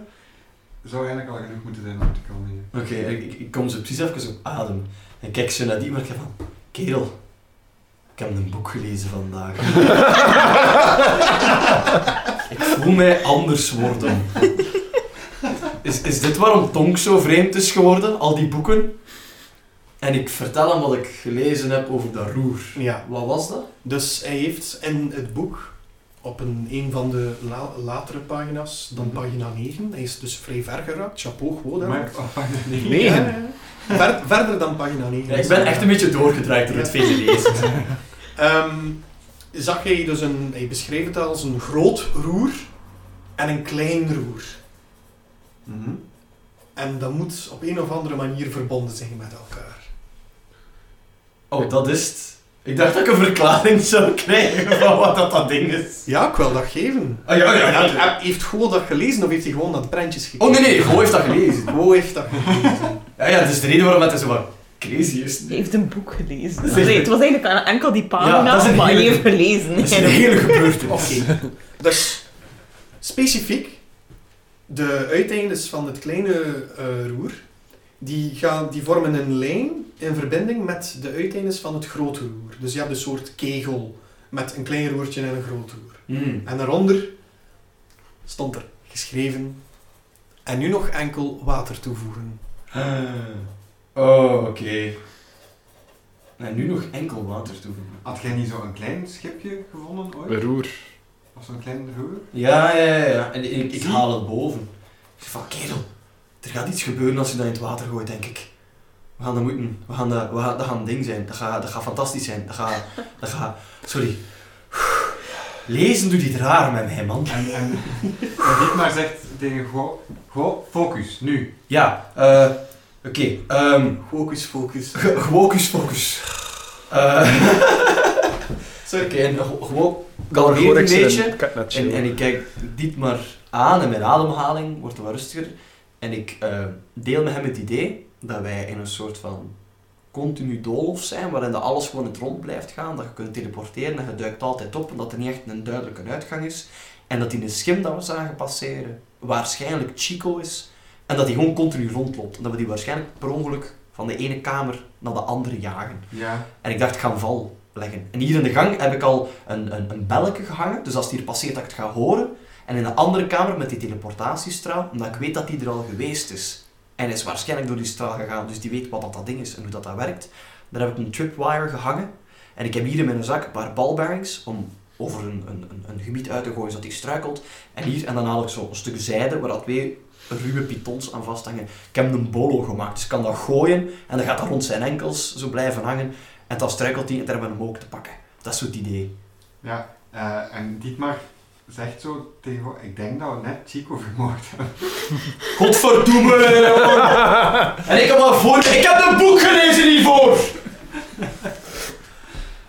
Speaker 4: zou eigenlijk al genoeg moeten zijn om te kalmeren.
Speaker 5: Oké, ik, ik- ik kom zo precies even op adem. En kijk zo naar die, maar ik heb van... Kerel, ik heb een boek gelezen vandaag. ik voel mij anders worden. Is, is dit waarom Tonk zo vreemd is geworden? Al die boeken? En ik vertel hem wat ik gelezen heb over dat roer.
Speaker 1: Ja,
Speaker 5: Wat was dat?
Speaker 1: dus hij heeft in het boek, op een, een van de la- latere pagina's,
Speaker 5: Mhm.
Speaker 1: dan pagina 9, hij is dus vrij ver geraakt, chapeau, gewoon. hè.
Speaker 4: Maar, oh, nee.
Speaker 1: Ja, ja, ja. Ver- verder dan pagina 9.
Speaker 5: Ja, ik ben echt een beetje doorgedraaid door het vele lezen.
Speaker 1: Ehm, zag hij dus een, hij beschreef het als een groot roer en een klein roer.
Speaker 4: Mhm.
Speaker 1: En dat moet op een of andere manier verbonden zijn met elkaar.
Speaker 5: Oh, dat is het. Ik dacht dat ik een verklaring zou krijgen van wat dat, dat ding is.
Speaker 1: Ja, ik wil dat geven.
Speaker 5: Ah, ja, ja, ja.
Speaker 1: En heb- Heeft Go dat gelezen of heeft hij gewoon dat prentjes gekeken?
Speaker 5: Oh nee, nee, Go heeft dat gelezen.
Speaker 1: Go heeft dat gelezen.
Speaker 5: Ja, ja, dat is de reden waarom het zo wat crazy is.
Speaker 2: Die heeft een boek gelezen.
Speaker 5: Dat is
Speaker 2: Nee,
Speaker 5: echt-
Speaker 2: het was eigenlijk enkel die
Speaker 5: Ja,
Speaker 2: pagina,
Speaker 5: dat is een
Speaker 2: maar die
Speaker 5: hele-
Speaker 2: heeft gelezen.
Speaker 5: Dat is een hele
Speaker 1: Oké.
Speaker 5: gebeurtenis.
Speaker 1: Dus, specifiek, de uiteindes van het kleine eh, roer, die, gaan, die vormen een lijn in verbinding met de uiteindes van het grote roer. Dus je hebt een soort kegel met een klein roertje en een groot roer.
Speaker 5: Hmm.
Speaker 1: En daaronder stond er geschreven, en nu nog enkel water toevoegen.
Speaker 5: Oh, oké. En nu nog enkel water toevoegen.
Speaker 4: Had jij niet zo'n klein schipje gevonden ooit?
Speaker 3: Een roer.
Speaker 4: Of zo'n klein roer?
Speaker 5: Ja, ja, ja. ja. En ik, ik
Speaker 4: Zie.
Speaker 5: haal het boven. Ik zeg van, kerel, er gaat iets gebeuren als je dat in het water gooit, denk ik. We gaan dat moeten. We gaan dat, we gaan, dat gaat een ding zijn. Dat gaat, dat gaat fantastisch zijn. Dat gaat, dat gaat... Sorry. Lezen doet iets raar met mij, man.
Speaker 4: En, en, en Dietmar zegt tegen Go, Go, focus, nu.
Speaker 5: Ja, eh... Oké, ehm...
Speaker 1: Focus, focus.
Speaker 5: Ge- Gewocus focus. Eh Sorry, oké, en ge- gewoon kalmeer een beetje. En, en ik kijk dit maar aan en mijn ademhaling wordt wat rustiger. En ik eh, deel met hem het idee dat wij in een soort van continu doolhof zijn, waarin dat alles gewoon in het rond blijft gaan, dat je kunt teleporteren en je duikt altijd op en dat er niet echt een duidelijke uitgang is. En dat in een schim dat we zagen passeren waarschijnlijk Chico is en dat hij gewoon continu rondloopt. En dat we die waarschijnlijk per ongeluk van de ene kamer naar de andere jagen.
Speaker 4: Ja.
Speaker 5: En ik dacht, ik ga een val leggen. En hier in de gang heb ik al een, een, een belletje gehangen, dus als het hier passeert dat ik het ga horen. En in de andere kamer met die teleportatiestraal, omdat ik weet dat die er al geweest is. En is waarschijnlijk door die straal gegaan, dus die weet wat dat, dat ding is en hoe dat, dat werkt. Daar heb ik een tripwire gehangen. En ik heb hier in mijn zak een paar balbearings om over een, een, een, een gebied uit te gooien zodat die struikelt. En hier, en dan haal ik zo een stuk zijde waar dat twee ruwe pitons aan vasthangen. Ik heb een bolo gemaakt, dus ik kan dat gooien en dan gaat dat rond zijn enkels zo blijven hangen. En dan struikelt hij en daar hebben we hem ook te pakken. Dat is zo het idee.
Speaker 4: ja. Eh, en Dietmar zegt zo tegen ik denk dat we net Chico vermoord hebben.
Speaker 5: Godverdomme! en ik heb al voor... Ik heb een boek gelezen hiervoor!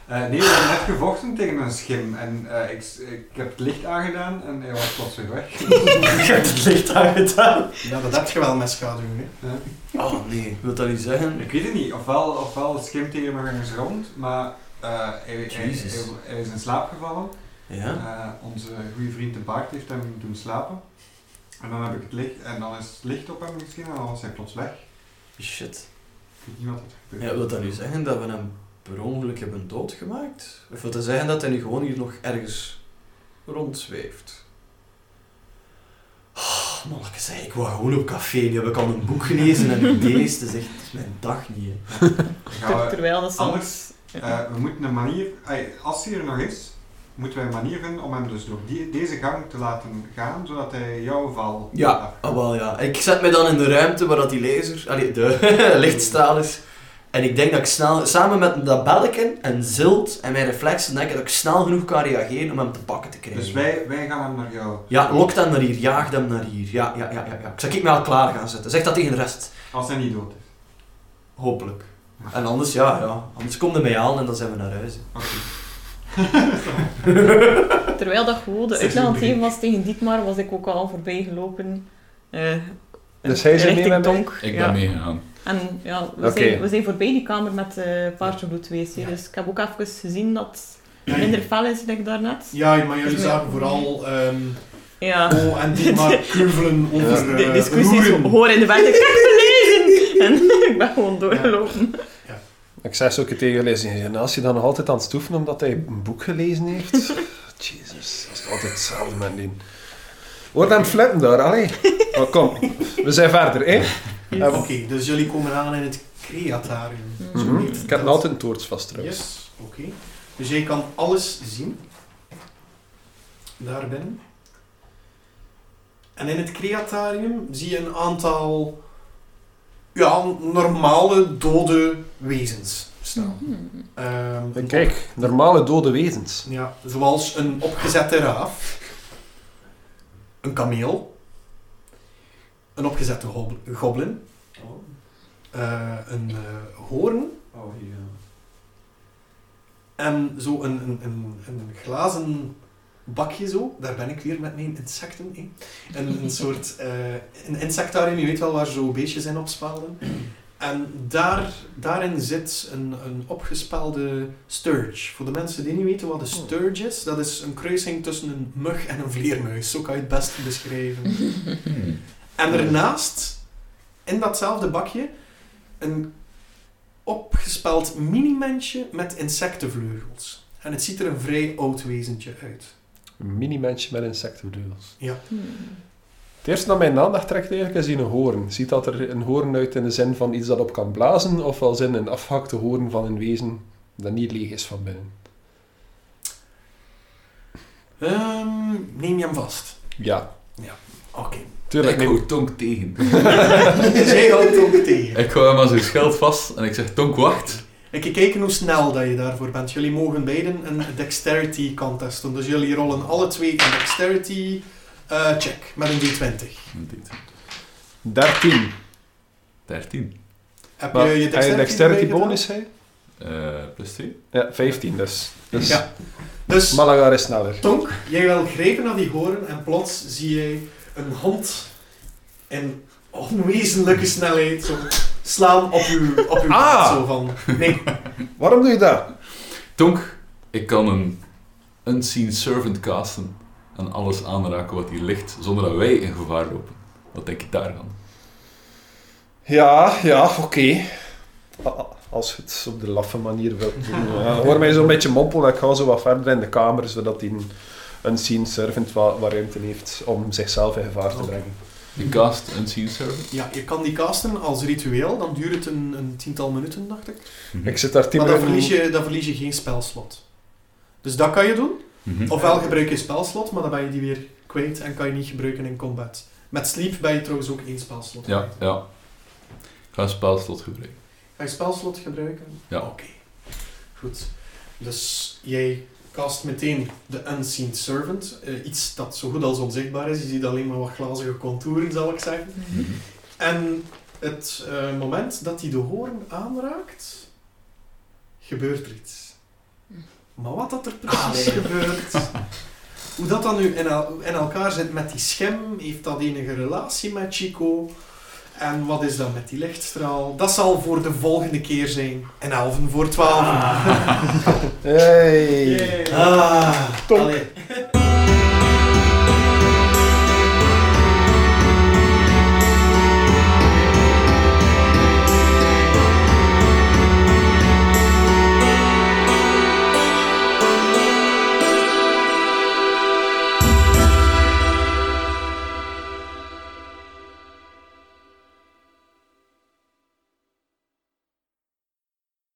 Speaker 4: Eh, nee, we hebben net gevochten tegen een schim en eh, ik, ik heb het licht aangedaan en hij was plots weer weg.
Speaker 5: Je hebt het licht aangedaan.
Speaker 1: Ja, dat heb je wel met schaduw. Hè.
Speaker 5: Oh nee, wil dat niet zeggen?
Speaker 4: Ik weet het niet, ofwel, ofwel schimt tegen mijn gangers rond, maar eh, hij, hij,
Speaker 5: Jezus.
Speaker 4: hij, hij is in slaap gevallen.
Speaker 5: Ja?
Speaker 4: Eh, onze goede vriend de baard heeft hem doen slapen. En dan heb ik het licht, en dan is het licht op hem misschien en dan was hij plots weg.
Speaker 5: Shit.
Speaker 4: Ik weet niet wat het gebeurt.
Speaker 5: Ja, wil dat nu zeggen dat we hem per ongeluk hebben doodgemaakt? Of wil dat zeggen dat hij nu gewoon hier nog ergens rondzweeft? Oh, manneke, zei ik wou gewoon op café. Nu heb ik al een boek gelezen en ideeën. Dat is echt mijn dag niet. hè.
Speaker 4: Dan gaan we-
Speaker 2: Terwijl dat soms...
Speaker 4: anders- eh, we moeten een manier, ey, als hij er nog is, moeten wij een manier vinden om hem dus door die, deze gang te laten gaan, zodat hij jouw val
Speaker 5: Ja,
Speaker 4: afgaat.
Speaker 5: ah, wel ja. Ik zet mij dan in de ruimte waar dat die laser, allee, de lichtstraal is. En ik denk dat ik snel, samen met dat belken en zilt en mijn reflexen, denk ik dat ik snel genoeg kan reageren om hem te pakken te krijgen.
Speaker 4: Dus wij, wij gaan hem naar jou.
Speaker 5: Eh. Ja, lok hem naar hier, jaag hem naar hier. Ja, ja, ja, ja. ja. Ik zal ik mij al klaar gaan zetten. Zeg dat tegen de rest.
Speaker 4: Als hij niet dood is.
Speaker 5: Hopelijk. En anders, ja, ja. Anders komt hij mij aan en dan zijn we naar huis. hè.
Speaker 4: Oké.
Speaker 2: Terwijl dat gewoon de
Speaker 4: Zeg
Speaker 2: uitleg aan het
Speaker 4: maar.
Speaker 2: geven was tegen Dietmar, was ik ook al voorbij gelopen. eh,
Speaker 3: Dus hij is er
Speaker 2: richting
Speaker 3: mee met mij?
Speaker 2: Tonk,
Speaker 6: Ik ben
Speaker 2: ja.
Speaker 6: meegegaan.
Speaker 2: En ja, we,
Speaker 3: Oké.
Speaker 2: zijn, we zijn voorbij die kamer met eh paardenbloed geweest. hè.
Speaker 5: Ja.
Speaker 2: Dus ik heb ook even gezien dat het minder fel is dan daarnet.
Speaker 1: Ja, maar jullie
Speaker 2: Dus
Speaker 1: zagen
Speaker 2: met-
Speaker 1: vooral ehm
Speaker 2: Ja.
Speaker 1: Oh en die maar keuvelen over
Speaker 2: De
Speaker 1: eh,
Speaker 2: discussies
Speaker 1: roeren.
Speaker 2: horen in de verte. Ik heb gelezen! En ik ben gewoon doorgelopen.
Speaker 3: Ik zei ze ook tegen lezen. Als je dan nog altijd aan het stoeven omdat hij een boek gelezen heeft. Jezus, dat is altijd hetzelfde met die. Hoor dan flippen daar, allee. Oh, kom, we zijn verder, hè?
Speaker 1: Oké, dus jullie komen aan in het creatarium.
Speaker 2: Mhm.
Speaker 1: Zo
Speaker 3: Mhm.
Speaker 1: heet
Speaker 3: Ik heb nog
Speaker 1: dat.
Speaker 3: altijd een toorts vast trouwens.
Speaker 1: Yes, oké. Dus jij kan alles zien. Daar binnen. En in het creatarium zie je een aantal ja, normale dode wezens staan.
Speaker 2: Hmm.
Speaker 3: Mhm.
Speaker 1: Ehm,
Speaker 3: En
Speaker 1: een
Speaker 3: Kijk, normale dode wezens.
Speaker 1: Ja, zoals een opgezette raaf, een kameel, een opgezette hob- goblin,
Speaker 4: Oh.
Speaker 1: eh, een eh, hoorn
Speaker 4: Oh, ja.
Speaker 1: en zo een, een, een, een glazen bakje zo. Daar ben ik weer met mijn insecten in. Een, een soort eh, een insectarium, je weet wel, waar zo beestjes in opspelden. En daar, daarin zit een, een opgespelde sturge. Voor de mensen die niet weten wat een sturge is, dat is een kruising tussen een mug en een vleermuis. Zo kan je het best beschrijven.
Speaker 6: Hmm.
Speaker 1: En daarnaast, in datzelfde bakje, een opgespeld mini-mensje met insectenvleugels. En het ziet er een vrij oud wezentje uit.
Speaker 3: Een mini-mensje met insectenvleugels.
Speaker 2: Hmm.
Speaker 3: Het eerste dat mijn aandacht trekt eigenlijk is die een hoorn. Ziet dat er een hoorn uit in de zin van iets dat op kan blazen, of als in een afgehakte hoorn van een wezen dat niet leeg is van binnen.
Speaker 1: Ehm, neem je hem vast.
Speaker 3: Ja,
Speaker 1: Oké.
Speaker 3: tuurlijk.
Speaker 6: ik
Speaker 3: neem-
Speaker 6: hou Tonk tegen.
Speaker 1: Zij houdt ook tegen.
Speaker 6: Ik hou hem aan zijn schild vast en ik zeg, Tonk, wacht.
Speaker 1: Ik kijk hoe snel dat je daarvoor bent. Jullie mogen beiden een dexterity contest doen. Dus jullie rollen alle twee een dexterity eh, check met een d20.
Speaker 6: Indeed.
Speaker 3: 13.
Speaker 6: 13.
Speaker 1: Heb
Speaker 3: Maar
Speaker 1: je je
Speaker 3: heb je
Speaker 1: dexterity,
Speaker 3: een dexterity
Speaker 1: bijgedaan?
Speaker 3: bonus, hè?
Speaker 6: Eh, plus 2.
Speaker 3: Ja, 15 dus. dus
Speaker 1: Ja. Dus
Speaker 3: Malaga is sneller.
Speaker 1: Tonk, jij wil grijpen naar die horen en plots zie jij een hond in onwezenlijke snelheid zo slaan op uw, op uw
Speaker 3: Ah.
Speaker 1: plaat, Zo van, nee,
Speaker 3: Waarom doe je dat?
Speaker 6: Tonk, ik kan een unseen servant casten en alles aanraken wat hier ligt, zonder dat wij in gevaar lopen. Wat denk je daarvan?
Speaker 3: Ja, ja, oké. A- a- Als je het op de laffe manier wilt doen. Ja, hoor mij zo'n beetje mompelen. Ik ga zo wat verder in de kamer, zodat die een- een scene servant wat, wat ruimte heeft om zichzelf in gevaar te
Speaker 1: Oké.
Speaker 3: brengen.
Speaker 6: Je cast unseen servant?
Speaker 1: ja, je kan die casten als ritueel, dan duurt het een, een tiental minuten, dacht ik.
Speaker 3: Ik zit daar tien
Speaker 1: Maar dan
Speaker 3: minuten...
Speaker 1: verlies, je, dan verlies je geen spelslot. Dus dat kan je doen.
Speaker 6: Mhm.
Speaker 1: Ofwel gebruik je een spelslot, maar dan ben je die weer kwijt en kan je niet gebruiken in combat. Met sleep ben je trouwens ook één spelslot.
Speaker 6: Ja,
Speaker 1: kwijt.
Speaker 6: ja. Ik ga spelslot gebruiken.
Speaker 1: Ga je spelslot gebruiken?
Speaker 6: Ja.
Speaker 1: Oké. Goed. Dus jij cast meteen de Unseen Servant. eh, iets dat zo goed als onzichtbaar is. Je ziet alleen maar wat glazige contouren, zal ik zeggen.
Speaker 6: Mhm.
Speaker 1: En het eh, moment dat hij de hoorn aanraakt, gebeurt er iets. Maar wat dat er precies
Speaker 5: Ah, nee.
Speaker 1: gebeurt, hoe dat dan nu in, el- in elkaar zit met die schim, heeft dat enige relatie met Chico? En wat is dat met die lichtstraal? Dat zal voor de volgende keer zijn. En elven voor twaalf.
Speaker 5: Ah.
Speaker 3: Hey.
Speaker 1: Yay.
Speaker 5: Ah.
Speaker 1: Allee,